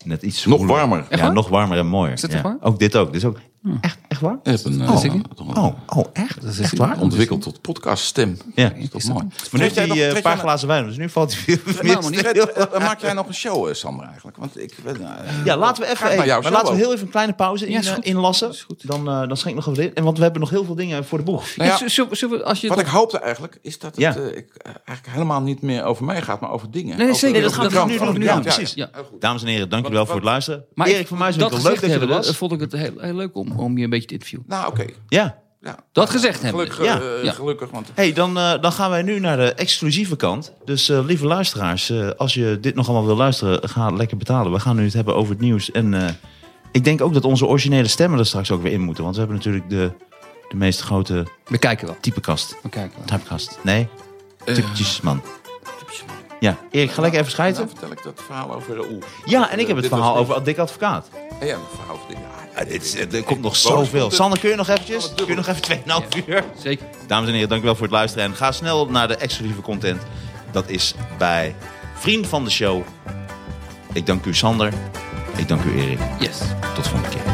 Speaker 2: net iets
Speaker 4: Nog
Speaker 2: zwoeler.
Speaker 4: warmer.
Speaker 2: Ja, nog warmer en mooier.
Speaker 3: Is dat
Speaker 2: ja.
Speaker 3: echt waar?
Speaker 2: Ook dit ook. Dit is ook echt, echt waar?
Speaker 4: Je hebt een, eh,
Speaker 3: Oh, zeker?
Speaker 4: een-
Speaker 2: Oh, oh echt?
Speaker 3: Dat is
Speaker 2: echt waar?
Speaker 4: Ontwikkeld tot podcaststem.
Speaker 2: Ja.
Speaker 4: Is dat mooi.
Speaker 2: Maar nu
Speaker 4: Trek
Speaker 2: heeft
Speaker 4: jij
Speaker 2: hij
Speaker 4: nog-
Speaker 2: eh, een
Speaker 4: trek
Speaker 2: paar
Speaker 4: jij
Speaker 2: glazen wijn, dus nu valt hij weer
Speaker 3: nou, maar niet.
Speaker 2: heel erg.
Speaker 4: nog- eh, Maak jij nog een show, eh, Sander, eigenlijk? Want ik, weet- eh,
Speaker 2: Ja, laten we
Speaker 4: Graag
Speaker 2: even.
Speaker 4: naar
Speaker 2: hey,
Speaker 4: jouw
Speaker 2: maar
Speaker 4: show
Speaker 2: laten we
Speaker 4: ook.
Speaker 2: heel even een kleine pauze in,
Speaker 3: Ja, is
Speaker 2: eh,
Speaker 3: goed.
Speaker 2: inlassen.
Speaker 3: Is goed.
Speaker 2: Dan, eh, dan schenk ik nog even dit. En want we hebben nog heel veel dingen voor de boeg.
Speaker 4: Nou ja,
Speaker 3: Is- zullen we- zullen we- als je
Speaker 4: Wat
Speaker 3: het-
Speaker 4: ik hoopte eigenlijk, is dat het
Speaker 2: Ja.
Speaker 4: eh, ik, eh, eigenlijk helemaal niet meer over mij gaat, maar over dingen.
Speaker 3: Nee,
Speaker 4: Over-
Speaker 3: zeker. Nee, dat
Speaker 4: over de
Speaker 3: gaan we
Speaker 4: krant,
Speaker 3: nu
Speaker 4: over
Speaker 2: doen.
Speaker 4: de krant,
Speaker 2: Ja, precies.
Speaker 3: Ja.
Speaker 4: Heel goed.
Speaker 2: Dames en heren, dankjewel
Speaker 4: Wat-
Speaker 2: voor het
Speaker 4: wat-
Speaker 2: luisteren. Erik
Speaker 3: ik-
Speaker 2: van Muizenwinkel,
Speaker 3: dat
Speaker 2: leuk dat
Speaker 3: gezegd
Speaker 2: je er
Speaker 3: hebbende,
Speaker 2: was.
Speaker 3: Vond ik het heel, heel leuk om, om je een beetje te interviewen.
Speaker 4: Nou, oké.
Speaker 2: Ja.
Speaker 4: Ja.
Speaker 3: Dat gezegd hebben.
Speaker 4: Gelukkig,
Speaker 2: Ja.
Speaker 4: eh,
Speaker 3: Ja.
Speaker 4: gelukkig, want
Speaker 2: Hey, dan, eh, dan gaan wij nu naar de exclusieve kant. Dus eh, lieve luisteraars, eh, als je dit nog allemaal wil luisteren, ga lekker betalen. We gaan nu het hebben over het nieuws. En eh, ik denk ook dat onze originele stemmen er straks ook weer in moeten. Want we hebben natuurlijk de de meest grote
Speaker 3: We kijken wel.
Speaker 2: typekast.
Speaker 3: We kijken wel.
Speaker 2: Typekast. Nee, typetjesman. Ja, Erik, ga lekker even
Speaker 4: Dan
Speaker 2: schijten.
Speaker 4: Nou, vertel ik dat verhaal over Raoul.
Speaker 2: Ja, en ik heb het
Speaker 4: Dit was
Speaker 2: verhaal
Speaker 4: niet-
Speaker 2: over Dick Advocaat.
Speaker 4: Ja, het verhaal over dit. Ja,
Speaker 2: Ja, dit is- er komt nog
Speaker 4: Bonus
Speaker 2: zoveel.
Speaker 4: content.
Speaker 2: Sander, kun je nog eventjes? Kun je nog even 2,5 uur?
Speaker 3: Zeker.
Speaker 2: Dames en heren, dankjewel voor het luisteren. En ga snel naar de exclusieve content. Dat is bij Vriend van de Show. Ik dank u Sander. Ik dank u Erik.
Speaker 3: Yes.
Speaker 2: Tot volgende keer.